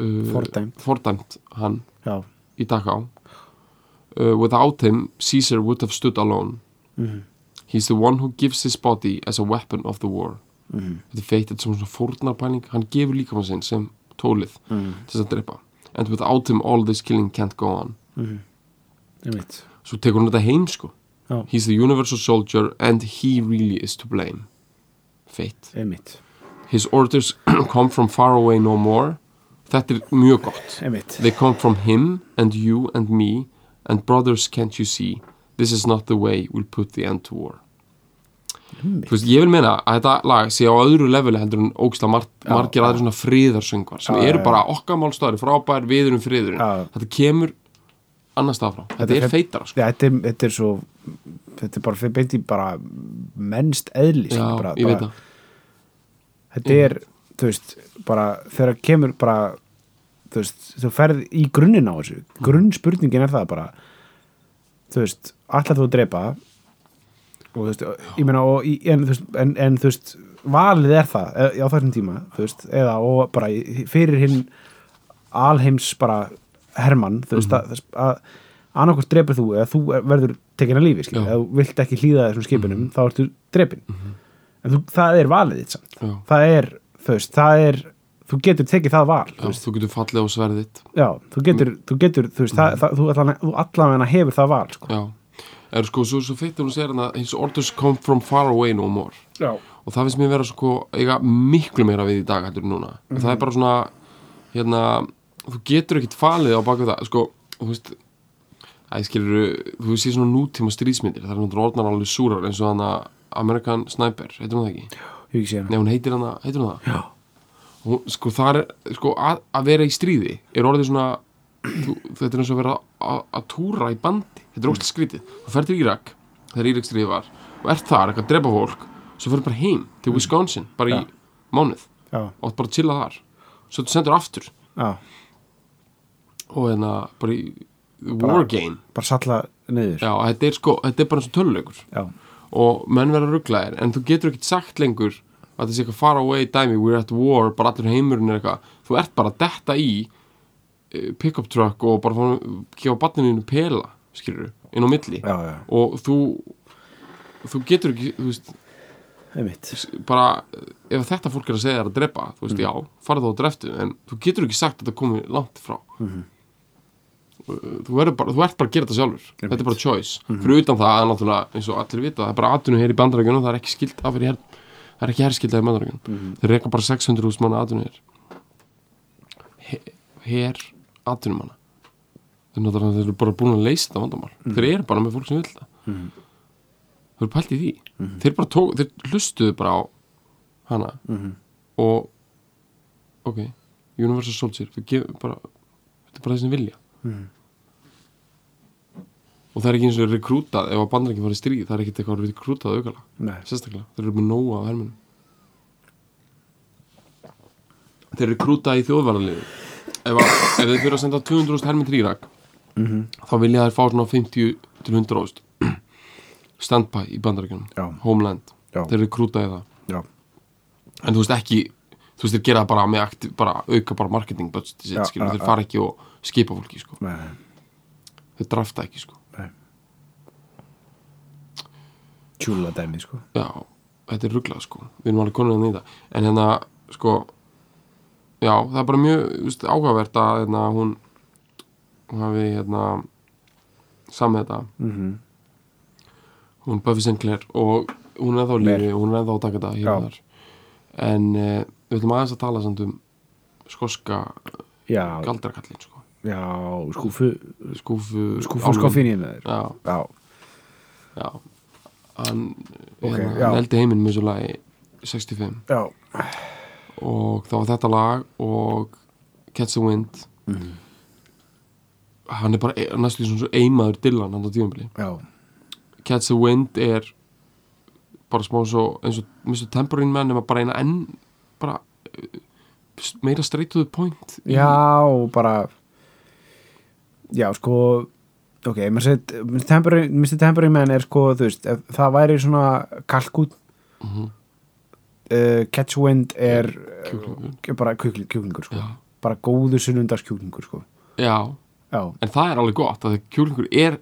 Speaker 3: uh,
Speaker 4: Fordæmt.
Speaker 3: fordæmt hann
Speaker 4: já,
Speaker 3: í Daká uh, without him Caesar would have stood alone
Speaker 4: Mhm.
Speaker 3: he's the one who gives his body as a weapon of the war
Speaker 4: Mm-hmm.
Speaker 3: þetta er feitt, þetta er svona svona fórnarpæling hann gefur líkamann sinn sem tólið
Speaker 4: Mhm.
Speaker 3: til þess að drepa and without him all this killing can't go on
Speaker 4: einmitt
Speaker 3: svo tekur hann þetta heim sko
Speaker 4: Já.
Speaker 3: he's the universal soldier and he really is to blame feitt
Speaker 4: einmitt,
Speaker 3: his orders come from far away no more þetta er mjög gott
Speaker 4: einmitt
Speaker 3: They come from him and you and me and brothers can't you see this is not the way we'll put the end to war Þú veist, ég vil meina að þetta lag sé á öðru leveli heldur en ógsta mar
Speaker 4: Já,
Speaker 3: margir aðrir svona friðarsöngvar sem
Speaker 4: Já,
Speaker 3: eru
Speaker 4: já,
Speaker 3: bara okkar málstæðari frábær við erum friðurinn,
Speaker 4: Já.
Speaker 3: þetta kemur annars stað frá, þetta er
Speaker 4: hrein-
Speaker 3: feitara sko.
Speaker 4: Já, þetta, er, þetta er svo þetta er bara fyrir beint í bara mennst eðli
Speaker 3: Já,
Speaker 4: skilur, bara,
Speaker 3: ég veit
Speaker 4: bara,
Speaker 3: það
Speaker 4: þetta er, þú veist, bara þegar kemur bara þú veist, þú ferð í grunninn á þessu
Speaker 3: Mhm.
Speaker 4: grunnspurningin er það bara þú veist, allar þú að drepa og þú veist, ég meina og, í- en, þú veist, en, en þú veist valið er það e, á þessum tíma, þú veist, eða og bara í- fyrir hinn alheims bara hermann þú veist,
Speaker 3: Mhm.
Speaker 4: mm -hmm. að, að annarkvist drepur þú eða þú er- verður tekin að lífi skilur,
Speaker 3: Já. Mhm.
Speaker 4: eða þú vilt ekki hlýða þessum skipinum þá ertu drepin en þú, það er valið þitt samt
Speaker 3: Já.
Speaker 4: það er, þú veist, það er þú getur tekið það val
Speaker 3: Já, Mm.
Speaker 4: þú veist,
Speaker 3: þú getur fallið á sverðið
Speaker 4: já, þú getur, þú getur þú veist, það, það, þú allan, þú allan hefur það val sko.
Speaker 3: Já, er sko svo, svo feitt hún segir hann að hérna, his orders come from far away no more
Speaker 4: já,
Speaker 3: og það finnst mér vera sko eiga miklu meira við í dag hættur núna það er bara svona hérna, þú getur ekkit falið á baku það sko, þú veist að ég skilur, þú sé svona nútíma stríðsmyndir það er náttúrulega orðnar alveg súrar eins og hann að American Sniper, heitir hún það ekki?
Speaker 4: ég hef ekki séð
Speaker 3: Nei,
Speaker 4: hana
Speaker 3: hún heitir hann að, heitir hún það?
Speaker 4: já,
Speaker 3: Hún, sko, það er, sko, að, að vera í stríði er orðið svona þú, þetta er eins og að vera að, að túra í bandi þetta er óslega skrítið, þú ferð til Írak þegar Írak stríði var og ert þar, eitthvað að drepa fólk svo ferð bara heim til Wisconsin bara í
Speaker 4: Ja.
Speaker 3: mánuð
Speaker 4: Mm. já,
Speaker 3: og átt bara að chilla þar svo þú sendur aftur
Speaker 4: já,
Speaker 3: og hérna bara í
Speaker 4: Bara-
Speaker 3: war game
Speaker 4: bara salla niður
Speaker 3: já, þetta er sko, þetta er bara eins og tölulegur
Speaker 4: já,
Speaker 3: og menn verða rugglaðir en þú getur ekkert sagt lengur að það sé eitthvað far away dæmi, we're at war, bara allir heimurinn er eitthvað, þú ert bara að detta í eh, pickup truck og bara fara- gefa barnininu pela skilur, inn á milli
Speaker 4: já, já,
Speaker 3: og þú þú getur ekki, þú veist
Speaker 4: einmitt
Speaker 3: bara, eh, ef þetta fólk er að segja þér að drepa, þú veist, já, farið þá að dreftu en þú getur ekki sagt að það komi langt frá þú, verður bara, þú ert bara að gera þetta sjálfur þetta er bara choice, fyrir utan það að náttúrulega eins og allir vita, það er bara atvinnu hér í bandarækjunum það er ekki skilt af fyrir hér það er ekki herskildað í bandarækjunum þeir reyka bara 600.000 manna atvinnu hér hér atvinnu manna þeir, náttúrulega- þeir eru bara búin að leysa þetta vandamál þeir eru bara með fólk sem vil það þeir eru pælt í því þeir bara tók, þeir hlustuðu bara á hana og ok, Universal Soldier við gefum bara, þetta er bara þessin vilja og það er ekki eins og rekrútað ef að bandar ekki farið í stríð, það er ekkit eitthvað rekrútað aukala,
Speaker 4: Nei.
Speaker 3: sérstaklega, þeir eru með nóa á herminum þeir eru rekrútað í þjóðvaraliðu ef, að, ef þeir fyrir að senda 200.000 herminn til Írak
Speaker 4: Mhm.
Speaker 3: þá vilja þær fá svona 50 til 100.000 standby í
Speaker 4: Já.
Speaker 3: bandaríkjunum homeland,
Speaker 4: Já.
Speaker 3: þeir eru krútaði það
Speaker 4: já,
Speaker 3: en þú veist ekki þú veist þeir gera það bara með aktiv, bara auka bara marketing budget sitt,
Speaker 4: Já,
Speaker 3: skilur,
Speaker 4: já,
Speaker 3: þeir
Speaker 4: já.
Speaker 3: fara ekki og skipa fólki sko.
Speaker 4: nei,
Speaker 3: þeir drafta ekki sko.
Speaker 4: nei tjúla dæmi, sko
Speaker 3: já, þetta er ruglað sko. við erum alveg konur í það en hérna sko já, það er bara mjög þú veist, áhugavert að hérna, hún hún hafi hérna samið þetta
Speaker 4: mm -hmm.
Speaker 3: hún Buffy Sinclair og hún er ennþá á lífi, hún er ennþá að taka þetta hér og
Speaker 4: Já.
Speaker 3: þar en uh, við ætlum aðeins að tala samt um skoska
Speaker 4: já,
Speaker 3: galdrakallin sko.
Speaker 4: já, skúfu
Speaker 3: skúfu
Speaker 4: skúfu skofinni með þér
Speaker 3: já,
Speaker 4: já,
Speaker 3: já hann,
Speaker 4: Ok,
Speaker 3: hérna,
Speaker 4: já.
Speaker 3: hann eldi heiminn með svo lagi 65
Speaker 4: já,
Speaker 3: og það var þetta lag og Catch the Wind
Speaker 4: Mhm.
Speaker 3: hann er bara e- næstu því svona svo eimaður Dylan hann á tíumbli
Speaker 4: já,
Speaker 3: Catch the Wind er bara smá svo eins og Mr. Tambourine Man nema bara eina enn bara uh, s- meira straight to the point í-
Speaker 4: Já,
Speaker 3: Mhm.
Speaker 4: og bara Já, sko Ok, maður sett Mr. Tambourine-
Speaker 3: Mhm.
Speaker 4: Mr. Tambourine Man er sko, þú veist ef það væri svona kalkút uh, Catch Wind er
Speaker 3: Kjúklingur.
Speaker 4: uh, bara kjúkling, kjúklingur sko.
Speaker 3: Já.
Speaker 4: bara góðu sunnundaskjúklingur sko.
Speaker 3: já,
Speaker 4: já,
Speaker 3: en það er alveg gott að kjúlingur er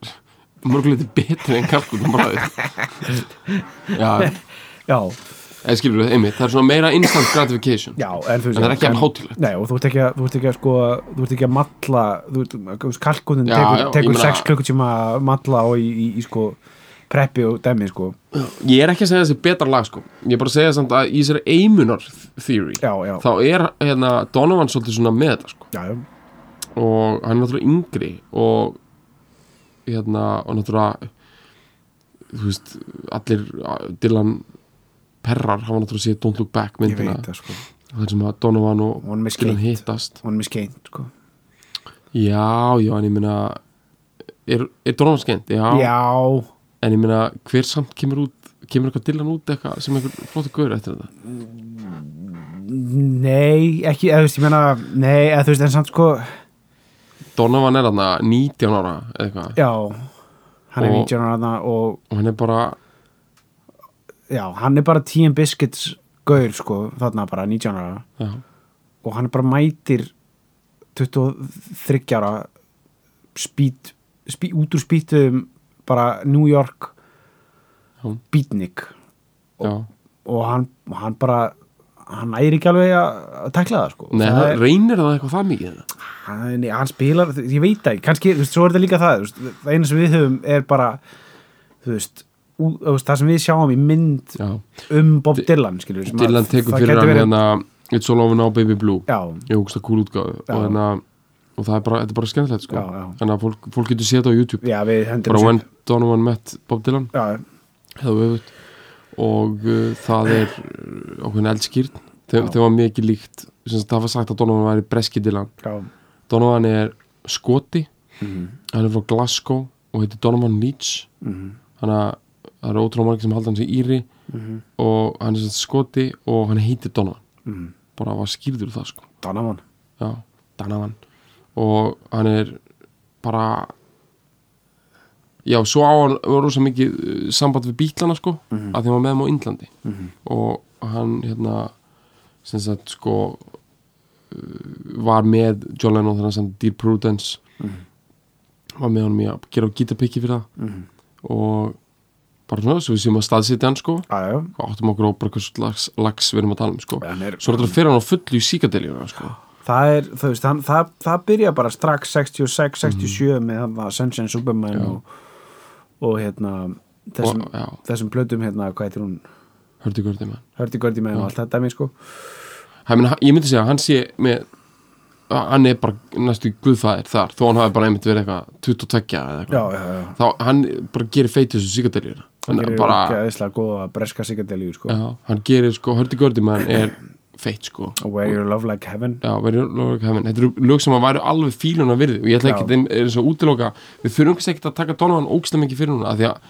Speaker 3: mörguleiti betri en kalkun um bræði já,
Speaker 4: já,
Speaker 3: eða skilur við einmitt, það er svona meira instant gratification
Speaker 4: já en, þú
Speaker 3: en það er ekki
Speaker 4: en-
Speaker 3: hann hátilegt
Speaker 4: Nei, og þú ert ekki að, þú ert ekki að sko, þú ert ekki að matla, þú ert, kalkunin
Speaker 3: Já,
Speaker 4: tekur,
Speaker 3: já, ég
Speaker 4: tekur
Speaker 3: meina-
Speaker 4: 6 klukkutíma að matla og í, í, í sko preppi og dæmi sko,
Speaker 3: ég er ekki að segja þessi betra lag sko ég er bara að segja samt að í þessari eimunar theory
Speaker 4: já, já,
Speaker 3: þá er hérna Donovan svolítið svona með þetta sko
Speaker 4: já, já,
Speaker 3: og hann er náttúrulega yngri og hérna og náttúrulega þú veist, allir uh, Dylan Perrar hafa náttúrulega séð Don't Look Back
Speaker 4: ég
Speaker 3: myndina
Speaker 4: veit það sko,
Speaker 3: þar sem að Donovan
Speaker 4: Og hann
Speaker 3: og
Speaker 4: með
Speaker 3: Dylan
Speaker 4: skeint.
Speaker 3: hittast
Speaker 4: hún er mér skeint sko,
Speaker 3: já, já, en ég meina er, er Donovan skemmt? Já.
Speaker 4: já,
Speaker 3: en ég meina, hver samt kemur út kemur eitthvað Dylan út eitthvað sem einhver flóttu gaur eftir þetta
Speaker 4: nei, ekki, eða þú veist, ég meina, nei, eða þú veist, en samt sko,
Speaker 3: Donovan er þarna 19 ára eða eitthvað
Speaker 4: já, hann er
Speaker 3: Og-
Speaker 4: 19 ára þarna og,
Speaker 3: og hann er bara
Speaker 4: já, hann er bara 10 biscuits gaur sko, þarna bara 19 ára
Speaker 3: já,
Speaker 4: og hann bara mætir 23 ára spýt, spýt, út úr spýtum bara New York
Speaker 3: Já.
Speaker 4: beatnik
Speaker 3: já.
Speaker 4: og hann, hann bara hann æri ekki alveg að að tækla það sko
Speaker 3: Nei,
Speaker 4: það
Speaker 3: það reynir það eitthvað það mikið það?
Speaker 4: hann, nei, hann spilar, þú- ég veit það ekki kannski, þú veist, svo er þetta líka það þú veist, það eina sem við höfum er bara þú veist, ú, þú veist, það sem við sjáum í mynd
Speaker 3: Já.
Speaker 4: um Bob Dylan skilur, við, sem að-
Speaker 3: Dylan tekur
Speaker 4: það
Speaker 3: fyrir
Speaker 4: gæti
Speaker 3: hann
Speaker 4: verið-
Speaker 3: hérna It's all over now baby blue
Speaker 4: já,
Speaker 3: ég hugst að kúl útgáðu
Speaker 4: Já.
Speaker 3: og, hérna, og það er bara, þetta er bara skemmtilegt sko.
Speaker 4: Já, já.
Speaker 3: þannig að fólk, fólk getur séð þetta á YouTube
Speaker 4: já, við hendur
Speaker 3: bara when Donovan met Bob Dylan
Speaker 4: já,
Speaker 3: eða öfut og uh, það er uh, ákveðin eldskýrt þeim,
Speaker 4: Já.
Speaker 3: þeim var mikið líkt sem sagt, það var sagt að Donovan væri breski Dylan
Speaker 4: já,
Speaker 3: Donovan er skoti hann er frá Glasgow og heitir Donovan Leach þannig að það eru ótrúlega margir sem halda hann sem íri og hann er sem sagt skoti og hann heitir Donovan
Speaker 4: Mhm.
Speaker 3: bara var skýrður það sko
Speaker 4: Donovan
Speaker 3: já, Donovan og hann er bara já, svo á hann var rosa mikið uh, samband við bítlana sko
Speaker 4: Mhm.
Speaker 3: að þeim var með þeim á Indlandi og hann hérna sem sagt sko uh, var með John Lennon þannig að sem Dear Prudence
Speaker 4: Mhm.
Speaker 3: var með honum í að gera gítapikki fyrir það
Speaker 4: Mhm.
Speaker 3: og bara svona svo við séum að staðsitja hann sko
Speaker 4: Já, já,
Speaker 3: og áttum okkur á bara hvers lags, lags við erum að tala um sko
Speaker 4: Hann er-
Speaker 3: svo er þetta að fyrir hann á fullu í síkadeljuna sko
Speaker 4: það er, þú veist, hann, það, það byrja bara strax
Speaker 3: Mhm.
Speaker 4: 66, 67 með hann að Sunshine Superman og, og hérna þessum,
Speaker 3: Og- já.
Speaker 4: þessum plötum hérna, hvað heitir hún,
Speaker 3: Hördi Gördi mann
Speaker 4: Hördi Gördi
Speaker 3: Mm.
Speaker 4: með og allt þetta mér sko,
Speaker 3: Ég meina, ég myndi segja að hann sé með að hann er bara næstu guðfæðir þar þó hann hafi bara einmitt verið eitthvað 22
Speaker 4: já,
Speaker 3: eða eitthvað
Speaker 4: já, já
Speaker 3: þá hann bara gerir feitið þessu síkadeljuna
Speaker 4: hann
Speaker 3: hann
Speaker 4: gerir bara...
Speaker 3: bara,
Speaker 4: gæðislega góð að breska sigadelíu sko,
Speaker 3: já, hann gerir sko Hördi Gördi mann er feit sko
Speaker 4: Where Your Love Like Heaven
Speaker 3: Já, verið lög hefðin. Þetta eru lög sem að væri alveg fíluna virði og ég ætla
Speaker 4: Já.
Speaker 3: ekki, þeim er svo útiloka við þurfum kannski ekkert að taka Donovan ógsta mikið fyrir núna af því að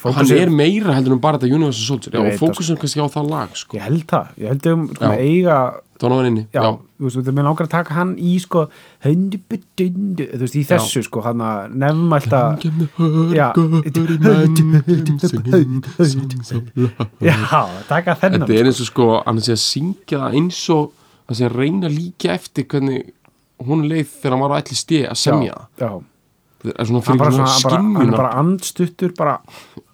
Speaker 3: hann
Speaker 4: Fókusum-
Speaker 3: er meira heldur en bara þetta Universal Soldier
Speaker 4: Ég
Speaker 3: já, og
Speaker 4: veit það,
Speaker 3: fókusum kannski á það lag sko.
Speaker 4: ég held það, ég held um sko,
Speaker 3: Já.
Speaker 4: eiga,
Speaker 3: Donovan inni
Speaker 4: já, þú veist, mér langar að taka hann í sko, höndu, dundu, þú veist, í þessu sko, hann að nefnum alltaf,
Speaker 3: Kemdu hörgur
Speaker 4: Já.
Speaker 3: í menn singin, singin so loud.
Speaker 4: já, taka þennan
Speaker 3: Þetta er eins og sko hann sé að syngja það eins og hann sé að reyna að líka eftir hvernig hún leið þegar hann var á ætli stið að semja það.
Speaker 4: sko. já, já.
Speaker 3: það er svona
Speaker 4: hann
Speaker 3: fyrir
Speaker 4: bara, svona,
Speaker 3: svona
Speaker 4: bara, hann er
Speaker 3: skinnuna
Speaker 4: bara andstuttur bara,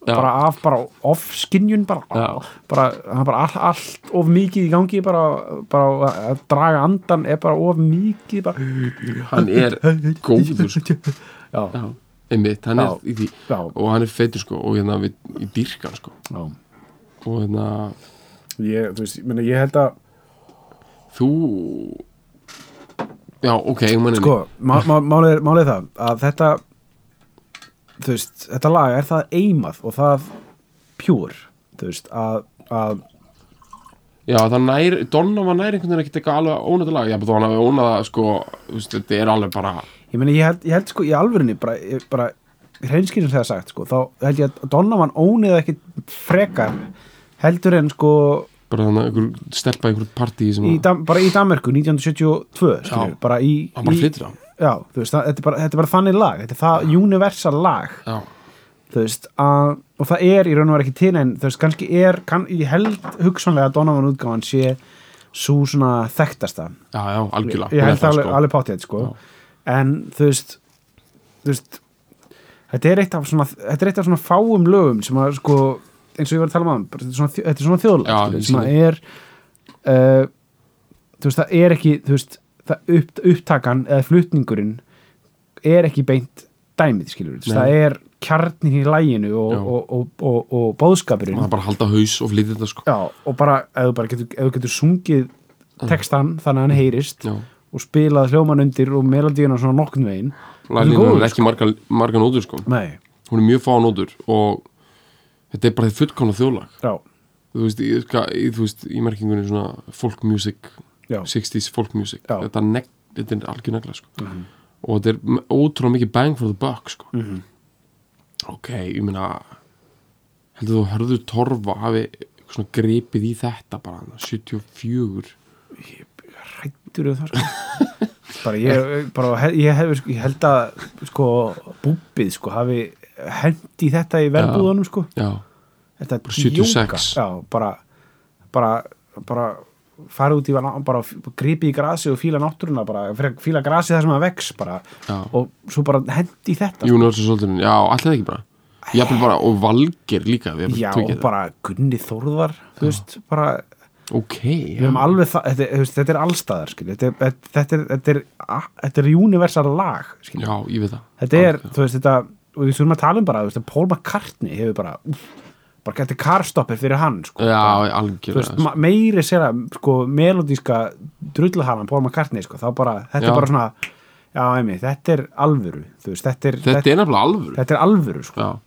Speaker 3: Já.
Speaker 4: bara af bara off skinjun bara,
Speaker 3: Já.
Speaker 4: bara, hann bara all, allt of mikið í gangi bara, bara að draga andan er bara of mikið bara,
Speaker 3: hann er góður sko.
Speaker 4: já,
Speaker 3: Já, einmitt, hann
Speaker 4: Já.
Speaker 3: er í því
Speaker 4: Já.
Speaker 3: og hann er feitur sko og hérna við, í dyrkan sko
Speaker 4: já.
Speaker 3: og hérna
Speaker 4: Ég, þú veist, ég, meina, ég held að
Speaker 3: þú já ok, ég manni
Speaker 4: sko, má- má- málið er- málið er það að þetta þú veist, þetta lag er það eimað og það pjúr þú veist, að, að
Speaker 3: Já, það nær, Donovan nær einhvern veginn ekkert eitthvað alveg ónætt lag, já, þá hann hafi ónæða sko, þú veist, þetta er alveg bara
Speaker 4: ég meina ég held, ég held sko í alvörinni bara, ég- bara hreinskinn sem það er sagt sko, þá held ég að Donovan ónið ekki frekar heldur en sko
Speaker 3: bara þannig að einhver stelpa í einhver partí sem
Speaker 4: í,
Speaker 3: að-
Speaker 4: Dam, bara í Danmörku 1972 skilju,
Speaker 3: Já.
Speaker 4: bara í,
Speaker 3: hann bara
Speaker 4: í
Speaker 3: flyttur á
Speaker 4: já, þú veist, það, þetta, er bara, þetta er bara þannig lag þetta er það universal lag
Speaker 3: Já,
Speaker 4: þú veist, að, og það er í raun og vera ekki til en þú veist, kannski er, kann, ég held hugsanlega að Donovan útgáfan sé svo svona þekktasta
Speaker 3: já, já, algjörlega
Speaker 4: ég held
Speaker 3: Hún er
Speaker 4: alveg,
Speaker 3: sko.
Speaker 4: alveg pátíð sko. en þú veist, þú veist þetta er eitt af svona þetta er eitt af svona fáum lögum sem að sko, eins og ég var að tala um áðan, bara þetta er svona, þjó- þetta er svona
Speaker 3: Já,
Speaker 4: þjóðlag
Speaker 3: ég
Speaker 4: skilur, sem að er uh, þú veist það er ekki þú veist, það upp, upptakan eða flutningurinn er ekki beint dæmið skilur, þú veist,
Speaker 3: Nei.
Speaker 4: það er kjarnin í læginu og,
Speaker 3: Já.
Speaker 4: og, og, og, og bóðskapurinn
Speaker 3: maður bara að halda haus og flytja þetta sko
Speaker 4: Já, og bara, ef þú bara getur, ef þú getur sungið textan þannig að hann heyrist
Speaker 3: Já.
Speaker 4: og spilað hljóman undir og melodíuna svona nokkn veginn
Speaker 3: laglínan
Speaker 4: góður, sko.
Speaker 3: er ekki marga, marga nótur sko
Speaker 4: Nei,
Speaker 3: hún er mjög fá nótur og þetta er bara þið fullkomna þjóðlag
Speaker 4: já,
Speaker 3: þú veist, í, ka- í, þú veist, í merkingunni svona folk music,
Speaker 4: já,
Speaker 3: 60s folk music
Speaker 4: Já.
Speaker 3: þetta, neg, þetta er algjör negla sko. og þetta er m- ótrúlega mikið bang for the buck sko.
Speaker 4: Mhm.
Speaker 3: ok, ég meina heldur þú að hörðu torfa hafi eitthvað svona gripið í þetta bara þarna, 74
Speaker 4: hættur við það sko. bara ég, bara, he- ég, hef, ég held að sko, búbið sko, hafi hendi þetta í verðbúðunum sko.
Speaker 3: já,
Speaker 4: þetta er
Speaker 3: Bara 76.
Speaker 4: djóka. já, bara, bara, bara fara út í bara gripi í grasi og fíla náttúruna bara, frekar fíla grasi þar sem það vex bara,
Speaker 3: Já.
Speaker 4: og svo bara hendi í þetta
Speaker 3: Universal Soldier já, allir það ekki bara Jafnvel bara, og Valger líka við jafnvel
Speaker 4: Já,
Speaker 3: tökja það.
Speaker 4: bara Gunni Þórðar þú veist, bara,
Speaker 3: ok,
Speaker 4: við
Speaker 3: já,
Speaker 4: höfum alveg það þetta, þú veist, þetta er allstaðar, skil þetta, er- þetta, er- þetta, er- a- þetta er universal lag, skil
Speaker 3: já, ég veit það
Speaker 4: þetta er,
Speaker 3: Algjörlega.
Speaker 4: þú veist, þetta og við þurfum að tala um bara, þú veist, að Paul McCartney hefur bara, úf, bara getið karstopper fyrir hann, sko bara,
Speaker 3: já,
Speaker 4: þú veist,
Speaker 3: algjörlega
Speaker 4: ma- meiri sér að, sko, melodíska drullhalan Paul McCartney, sko, þá bara þetta
Speaker 3: Já.
Speaker 4: er bara svona, já, emi, þetta er alvöru, þú veist, þetta er
Speaker 3: þetta er nefnilega alvöru
Speaker 4: þetta er alvöru, sko,
Speaker 3: Já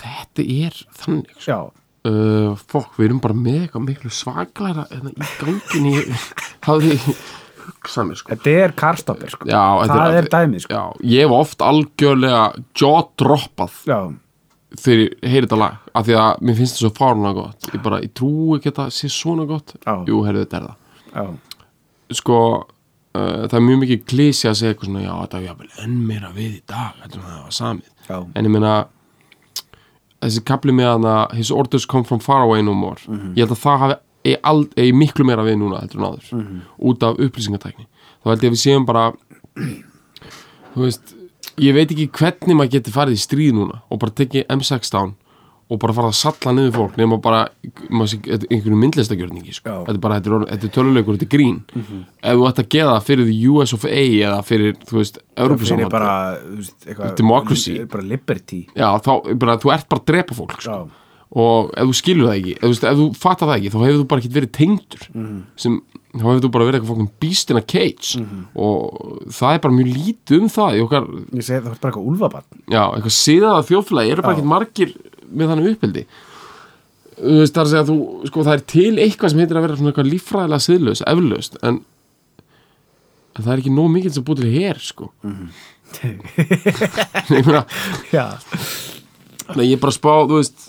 Speaker 3: Þetta er þannig sko.
Speaker 4: já
Speaker 3: uh, Fokk, við erum bara með eitthvað miklu svaklæra hérna, í ganginni hafði hugsað mér sko.
Speaker 4: þetta er karstopper, sko,
Speaker 3: Já, þetta
Speaker 4: það er dæmið, sko
Speaker 3: Já, ég hef oft algjörlega jawdroppað
Speaker 4: já.
Speaker 3: þegar ég heyri þetta lag af því að mér finnst þetta svo fáruna gott ég bara, ég trúi ekki að þetta sé svona gott
Speaker 4: Já.
Speaker 3: Jú, heyrðu þetta er það
Speaker 4: Já,
Speaker 3: Sko, uh, það er mjög mikið klísi að segja eitthvað svona, já, þetta er jafnvel enn meira við í dag, þetta er það var samið
Speaker 4: já,
Speaker 3: en ég meina þessi kapli með hana his orders come from far away no more
Speaker 4: Mhm.
Speaker 3: ég held að það hafi er, ald, er miklu meira við núna heldur en áður
Speaker 4: Mhm.
Speaker 3: út af upplýsingatækni þá held ég að við séum bara þú veist ég veit ekki hvernig maður getur farið í stríð núna og bara tekið M16 og bara farið að salla niður fólk nema bara maður sé, þetta er einhverjum myndlistagjörningi sko.
Speaker 4: Já. Mhm.
Speaker 3: þetta er bara, þetta er, orðið- þetta er tölulegur, þetta er grín ef þú ætti að gera það fyrir the US of A eða fyrir, þú veist,
Speaker 4: fyrir
Speaker 3: Európusamband
Speaker 4: bara þú veist, eitthvað,
Speaker 3: Democracy.
Speaker 4: bara liberty
Speaker 3: já, þá, bara, þú ert bara að drepa fólk sko.
Speaker 4: já,
Speaker 3: og ef þú skilur það ekki ef, þú veist, ef þú fattar það ekki, þá hefur þú bara ekki verið tengdur sem, þá hefur þú bara verið eitthvað fólkum beast in a cage og það er bara mjög lítið um það í okkar,
Speaker 4: ég segi það er bara eitthvað úlfabann
Speaker 3: já, eitthvað siðaða þjóflagi eru bara
Speaker 4: Já.
Speaker 3: ekki margir með þannig uppeldi þú veist, það er að segja þú, sko, það er til eitthvað sem heitir að vera svona eitthvað líffræðilega siðlaus, eflaust en, en það er ekki nóg mikið sem búið til hér, sko ég meina
Speaker 4: já,
Speaker 3: Nei, ég er bara að spá, þú veist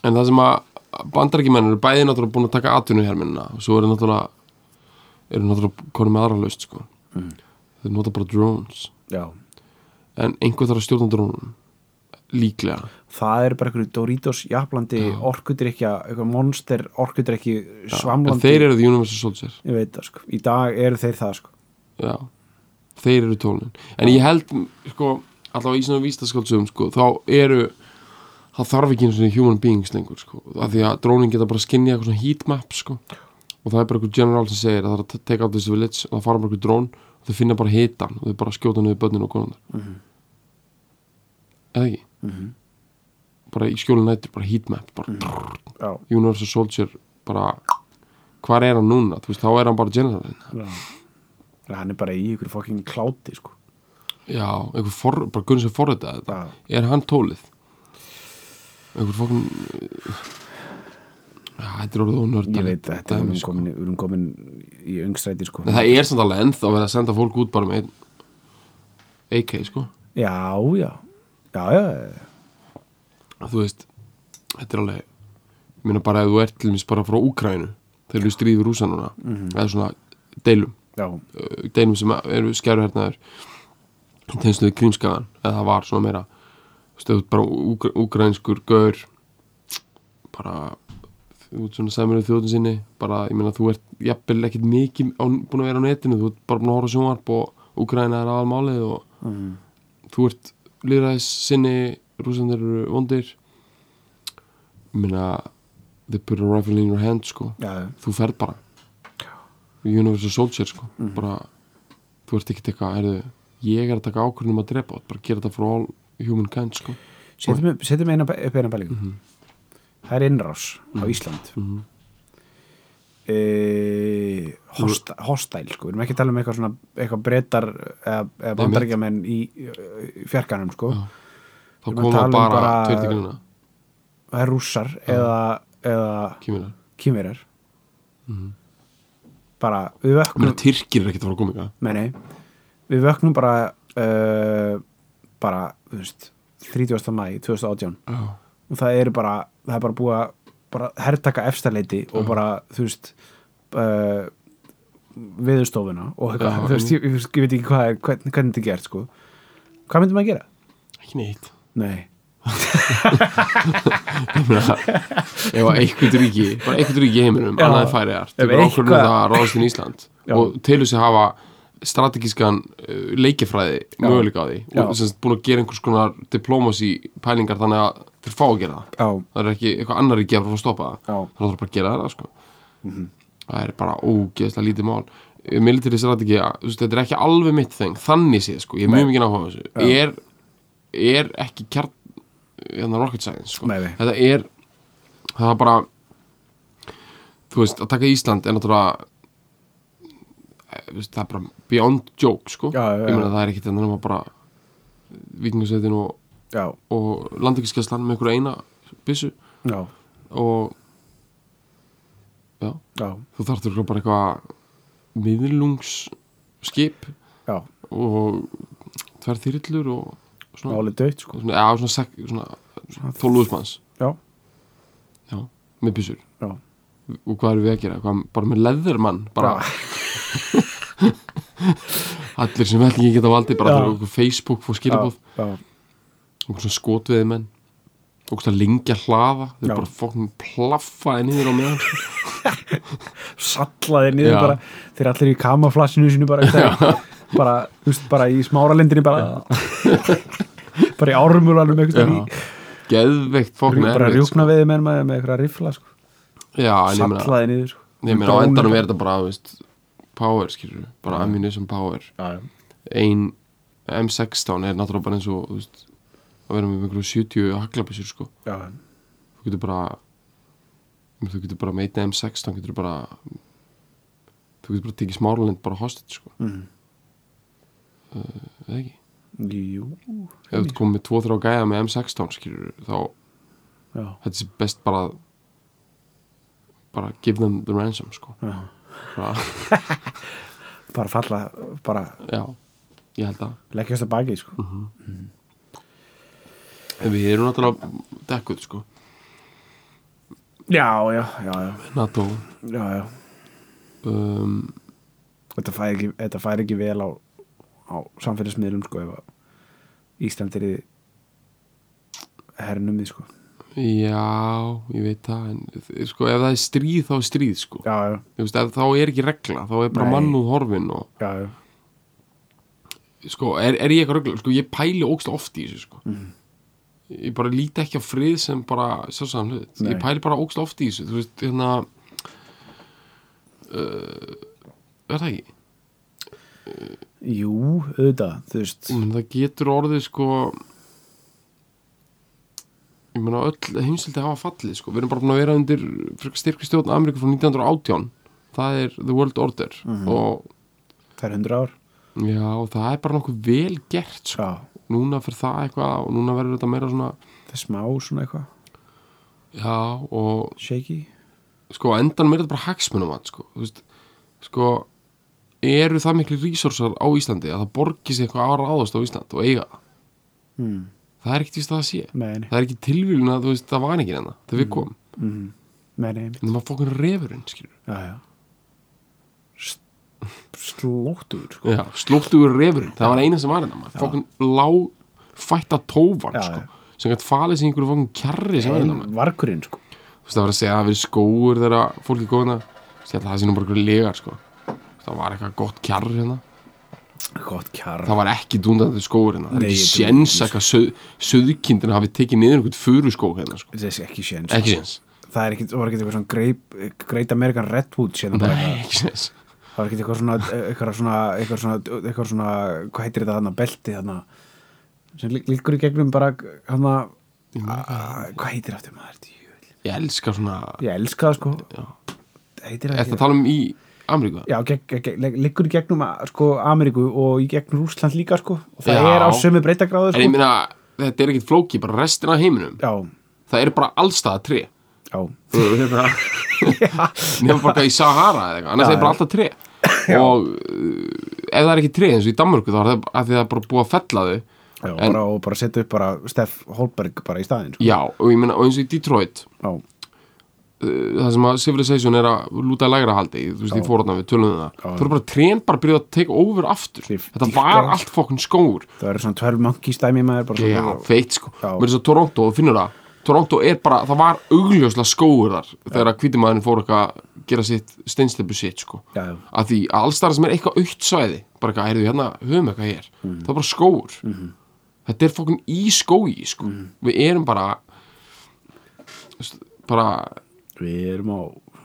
Speaker 3: En það sem að bandarækjumenn eru bæði náttúrulega búin að taka atvinnu herminna og svo eru náttúrulega eru náttúrulega konum með aðra laust sko. Þeir nota bara drones
Speaker 4: já
Speaker 3: en einhver þarf að stjórna drónum líklega
Speaker 4: það er bara eitthvað Doritos jafnlandi orkudrykja, eitthvað monster orkudrykki
Speaker 3: en
Speaker 4: svamlandi
Speaker 3: þeir eru the universal soldier
Speaker 4: ég veit það sko, í dag eru þeir það sko
Speaker 3: Já. þeir eru tólin en ég held, sko, allavega í svona vístaskáldsöfum, sko, þá eru það þarf ekki einu svona human beings lengur, sko, af því að drónin geta bara skinnja eitthvað svona heatmap, sko og það er bara einhver general sem segir að það er að take out this village og það fara bara einhver drón og þau finna bara hitan og þau bara skjóta niður börnin og konunar eða ekki bara í skjóli nættur, bara heatmap bara
Speaker 4: já,
Speaker 3: Universal Soldier bara, hvar er hann núna þú veist, þá er hann bara generalinn
Speaker 4: já. hann er bara í ykkur fucking kláti sko
Speaker 3: Já, einhver for, bara gunn sem forritaði þetta
Speaker 4: já,
Speaker 3: Er hann tólið? Einhver fokkin Já, þetta er orðið ónörd
Speaker 4: ég veit þetta er um
Speaker 3: sko.
Speaker 4: komin, um komin í öngstræti sko
Speaker 3: Nei, Það er samt alveg ennþá verið að senda fólk út bara með einn AK, sko
Speaker 4: já, já, já, já, já.
Speaker 3: Þú veist, þetta er alveg Ég meina bara ef þú ert til mér bara frá Úkrænu Þeir eru stríði rúsa núna
Speaker 4: Mhm.
Speaker 3: Eða svona deilum
Speaker 4: já.
Speaker 3: uh, deilum sem eru skæruhernaður í tengslum við krímskaðan eða það var svona meira stöðu bara úgr úgrænskur gaur bara þú ert svona sæmur við þjóðun sinni bara, ég meina, þú ert jafnvel ekkert mikið á, búin að vera á netinu, þú ert bara búin að horfa á sjónvarp og Úgræna er aðalmálið og
Speaker 4: mm.
Speaker 3: þú ert lýraðis sinni rúsandir eru vondir ég meina they put a rifle in your hand sko
Speaker 4: já, já.
Speaker 3: þú ferð bara Universal Soldier sko
Speaker 4: Mhm.
Speaker 3: bara, þú ert ekkert eitthvað herðu, ég er að taka ákvörðunum að drepa þú ert bara að gera þetta for all humankind sko
Speaker 4: setjum, setjum eina, upp eina pælingu það er innrás á Ísland mm
Speaker 3: Mhm.
Speaker 4: E, hosta, hostæl sko. við erum ekki að tala um eitthvað, svona, eitthvað breytar eða, eða bandaríkjamenn í, í fjarkanum sko.
Speaker 3: Já. þá
Speaker 4: Við erum að
Speaker 3: koma
Speaker 4: tala um
Speaker 3: bara
Speaker 4: bara-
Speaker 3: tveir til grunna
Speaker 4: það er rússar
Speaker 3: Ah.
Speaker 4: eða, eða
Speaker 3: kýmina
Speaker 4: kýmverjar
Speaker 3: Mhm.
Speaker 4: bara við vöknum
Speaker 3: Mér að Tyrkir er ekkert að fara að koma ykkar
Speaker 4: Nei, nei, við vöknum bara uh, bara, þú veist 30. mæ 2018 og það eru bara, það er bara búið að bara hertaka efstaleiti
Speaker 3: Mhm.
Speaker 4: og bara, þú veist uh, viðustofuna og eitthvað,
Speaker 3: Já,
Speaker 4: þú veist, ég, ég, veist, ég veit ekki hvað er, hvern, hvernig þetta er gert, sko Hvað myndum að gera?
Speaker 3: Ekki neitt
Speaker 4: Nei,
Speaker 3: Ég meina, Ef að eitthvað ríki bara eitthvað ríki í heiminum,
Speaker 4: Já.
Speaker 3: annaði færi art
Speaker 4: Ef
Speaker 3: Það er ákvörðunum
Speaker 4: eitthvað-
Speaker 3: um það að ráðast inn í Ísland
Speaker 4: Já.
Speaker 3: og telur sig hafa strategískan uh, leikifræði möguleika á því
Speaker 4: Já.
Speaker 3: og sem sagt búin að gera einhvers konar diplomasi pælingar þannig að þeir fá að gera það
Speaker 4: á,
Speaker 3: það er ekki eitthvað annar ekki að fara að stoppa það
Speaker 4: Já. Mhm.
Speaker 3: þannig að það er bara að gera það sko. það er bara ógeðslega lítið mál military strategi, þetta er ekki alveg mitt þeng, þannig séð, sko, ég er mjög mikið áhuga á þessu er, er ekki kjarn, hérna rocket science sko.
Speaker 4: Nei, nei.
Speaker 3: þetta er það er bara þú veist, að taka Ísland er náttúrulega eh, þú veist, það er bara beyond joke, sko
Speaker 4: Já, já,
Speaker 3: ég meina
Speaker 4: já.
Speaker 3: það er ekkit ennum að bara vikingasveitin og,
Speaker 4: já,
Speaker 3: og landingiskeslan með einhverja eina byssu
Speaker 4: já,
Speaker 3: og já,
Speaker 4: já,
Speaker 3: þú þarftur bara eitthvað miðlungsskip
Speaker 4: já
Speaker 3: og tvær þyrillur og svona,
Speaker 4: Málið döitt, sko
Speaker 3: svona, ja, svona, sek, svona þóluðsmanns
Speaker 4: Já,
Speaker 3: já, með byssur
Speaker 4: já,
Speaker 3: og hvað erum við að gera, hvað, bara með leðurmann bara
Speaker 4: Já.
Speaker 3: allir sem vellingi geta valdi bara
Speaker 4: Já.
Speaker 3: þegar okkur Facebook fór
Speaker 4: já,
Speaker 3: skilabóð
Speaker 4: já,
Speaker 3: okkur svona skotveði menn okkur svona lengja hlaða þau
Speaker 4: Já.
Speaker 3: bara fóknum plaffaði niður á meðan
Speaker 4: sallaði niður
Speaker 3: Já.
Speaker 4: bara þeir allir í kamaflassinu sinu bara, bara, bara, þú veist, bara í smáralendinni bara, bara í ármúlanum eitthvað í
Speaker 3: geðveikt fóknum
Speaker 4: Rjú- bara rjúkna veði með maður með eitthvað rifla sko.
Speaker 3: já, en sko. ég meina
Speaker 4: sallaði niður sko.
Speaker 3: Nei, mér á
Speaker 4: Drónur.
Speaker 3: endanum er þetta bara, þú veist, power, skilur bara ammunition power. Ein M16 er náttúrulega bara eins og, þú veist, að vera með einhverju 70 haglabissur, sko.
Speaker 4: já,
Speaker 3: Þú getur bara, þú getur bara með einni M16, getur bara, þú getur bara tekið smáralind bara hostage, sko.
Speaker 4: Mhm.
Speaker 3: Uh, eða ekki?
Speaker 4: jú
Speaker 3: Ef þú ert komið með 2-3 gæða með M16, skilur þá,
Speaker 4: já,
Speaker 3: þetta er best bara, bara give them the ransom, sko.
Speaker 4: já.
Speaker 3: Bara,
Speaker 4: bara falla, bara
Speaker 3: já, ég held að.
Speaker 4: leggjast að baki sko.
Speaker 3: Mhm. En við erum náttúrulega dekkuð sko
Speaker 4: já, já, já, já,
Speaker 3: NATO
Speaker 4: já, já.
Speaker 3: um,
Speaker 4: Þetta, fær ekki, þetta fær ekki vel á, á samfélagsmiðlum sko, ef að Ísland er í hernumið sko.
Speaker 3: Já, ég veit það en, þ- sko, ef það er stríð þá er stríð sko
Speaker 4: já, já,
Speaker 3: Þú veist, ef, þá er ekki regla, þá er bara
Speaker 4: Nei.
Speaker 3: mannúð horfin og
Speaker 4: já, já.
Speaker 3: sko, er, er ég eitthvað regla, sko, ég pæli ógst oft í þessu sko
Speaker 4: Mhm.
Speaker 3: Ég bara líti ekki á frið sem bara sjálfsagðan hlut,
Speaker 4: Nei.
Speaker 3: ég pæli bara ógst oft í þessu þú veist, hérna uh, er það ekki?
Speaker 4: jú, auðvitað, þú veist
Speaker 3: Ég meina, það getur orðið sko ég meina öll heimsildi hafa fallið sko við erum bara búin að vera undir styrkri stjórn Ameríku frá 1918 það er the world order og
Speaker 4: það er hundra ár
Speaker 3: já og það er bara nokkuð vel gert sko.
Speaker 4: já,
Speaker 3: núna fyrir það eitthvað og núna verður þetta meira svona
Speaker 4: það er smá svona eitthvað,
Speaker 3: já og
Speaker 4: shaky
Speaker 3: sko á endanum er þetta bara hagsmunum að sko þú veist sko eru það miklu resursar á Íslandi að það borgi sig eitthvað að ráðast á Ísland og eiga það
Speaker 4: mm.
Speaker 3: það er ekkert víst að það sé
Speaker 4: meðinni
Speaker 3: það er ekki tilvílun að þú veist það var ekki hérna þegar við komum
Speaker 4: mm. meðinni
Speaker 3: en það var fokkun refurinn skilur
Speaker 4: já, já slóttur sko.
Speaker 3: já. slóttugur refurinn, það var eina sem var hérna maður fokkun lágfætta tófan
Speaker 4: Já,
Speaker 3: sko.
Speaker 4: já.
Speaker 3: sem gætt falið sig í einhverju fangin kjarri sem er
Speaker 4: En
Speaker 3: þarna.
Speaker 4: varkurinn sko
Speaker 3: Þú veist, það var að segja "Ah, að það verið skóur þegar fólk er góðina ég held að það sé nú bara einhverju legar sko. Þú veist, það var eitthvað gott kjarr hérna
Speaker 4: gott kjarr
Speaker 3: það var ekki dúndandi skóur hérna það er
Speaker 4: Nei,
Speaker 3: ekki
Speaker 4: ég trúi
Speaker 3: séns
Speaker 4: því,
Speaker 3: að hvað söð, söðkindin hafi tekið niður einhvern furu skó hérna sko.
Speaker 4: þessi ekki séns
Speaker 3: ekki séns
Speaker 4: það er ekki, það var ekki eitthvað svona greip, Great American Redwood hérna bara
Speaker 3: Nei,
Speaker 4: eitthvað.
Speaker 3: ekki séns
Speaker 4: það var ekki eitthvað svona eitthvað svona, eitthvað svona, eitthvað svona hvað heitir þetta þarna, belti þarna sem lí- líkur í gegnum bara hana, hvað heitir aftur maður djöfull.
Speaker 3: ég elska svona
Speaker 4: ég elska það sko heitir það
Speaker 3: Þetta
Speaker 4: ekki
Speaker 3: tala um í Ameríku
Speaker 4: já, gegn, gegn, gegn, liggur í gegnum að, sko, Ameríku og í gegnum Rúsland líka sko. og það
Speaker 3: Já.
Speaker 4: er á sömu breytagráðu
Speaker 3: En ég
Speaker 4: sko.
Speaker 3: meina, þetta er ekkit flóki bara restina af heiminum
Speaker 4: já,
Speaker 3: Það er bara allstaða tré
Speaker 4: já,
Speaker 3: Þú veist, hérna, Nefnum bara í Sahara eða eitthvað Annars
Speaker 4: Já,
Speaker 3: er bara alltaf tré Og uh, ef það er ekki tré eins og í Danmörku þá er það að því það er bara búið að fella þau
Speaker 4: já
Speaker 3: En-
Speaker 4: bara, og bara setja upp bara Steff Holberg bara í staðin sko.
Speaker 3: Já, og ég meina, og eins og í Detroit
Speaker 4: já,
Speaker 3: uh, það sem að Civilization er að lúta lægra haldi, þú veist, í fórhaldna við tölum um það
Speaker 4: Já.
Speaker 3: þú eru bara trén bara að byrja að teka over aftur,
Speaker 4: Því
Speaker 3: þetta
Speaker 4: dýrt
Speaker 3: var
Speaker 4: land.
Speaker 3: allt fokkun skóur
Speaker 4: það eru svona 12 monkey stæmi maður bara svona-
Speaker 3: Já, feitt sko
Speaker 4: Já.
Speaker 3: Mér er svo Toronto, þú finnur það Toronto er bara, það var augljóslega skóur þar þegar að hvítimaðurinn fór eitthvað að gera sitt steinsteppu sitt sko
Speaker 4: Já, já.
Speaker 3: að því að alls þar sem er eitthvað aukt svæði bara eitthvað, heyrðu hérna, höfum eitthvað hér
Speaker 4: Mhm.
Speaker 3: það er bara skóur þetta er fokkun í skói sko
Speaker 4: Mhm.
Speaker 3: við erum bara veist, bara,
Speaker 4: við erum á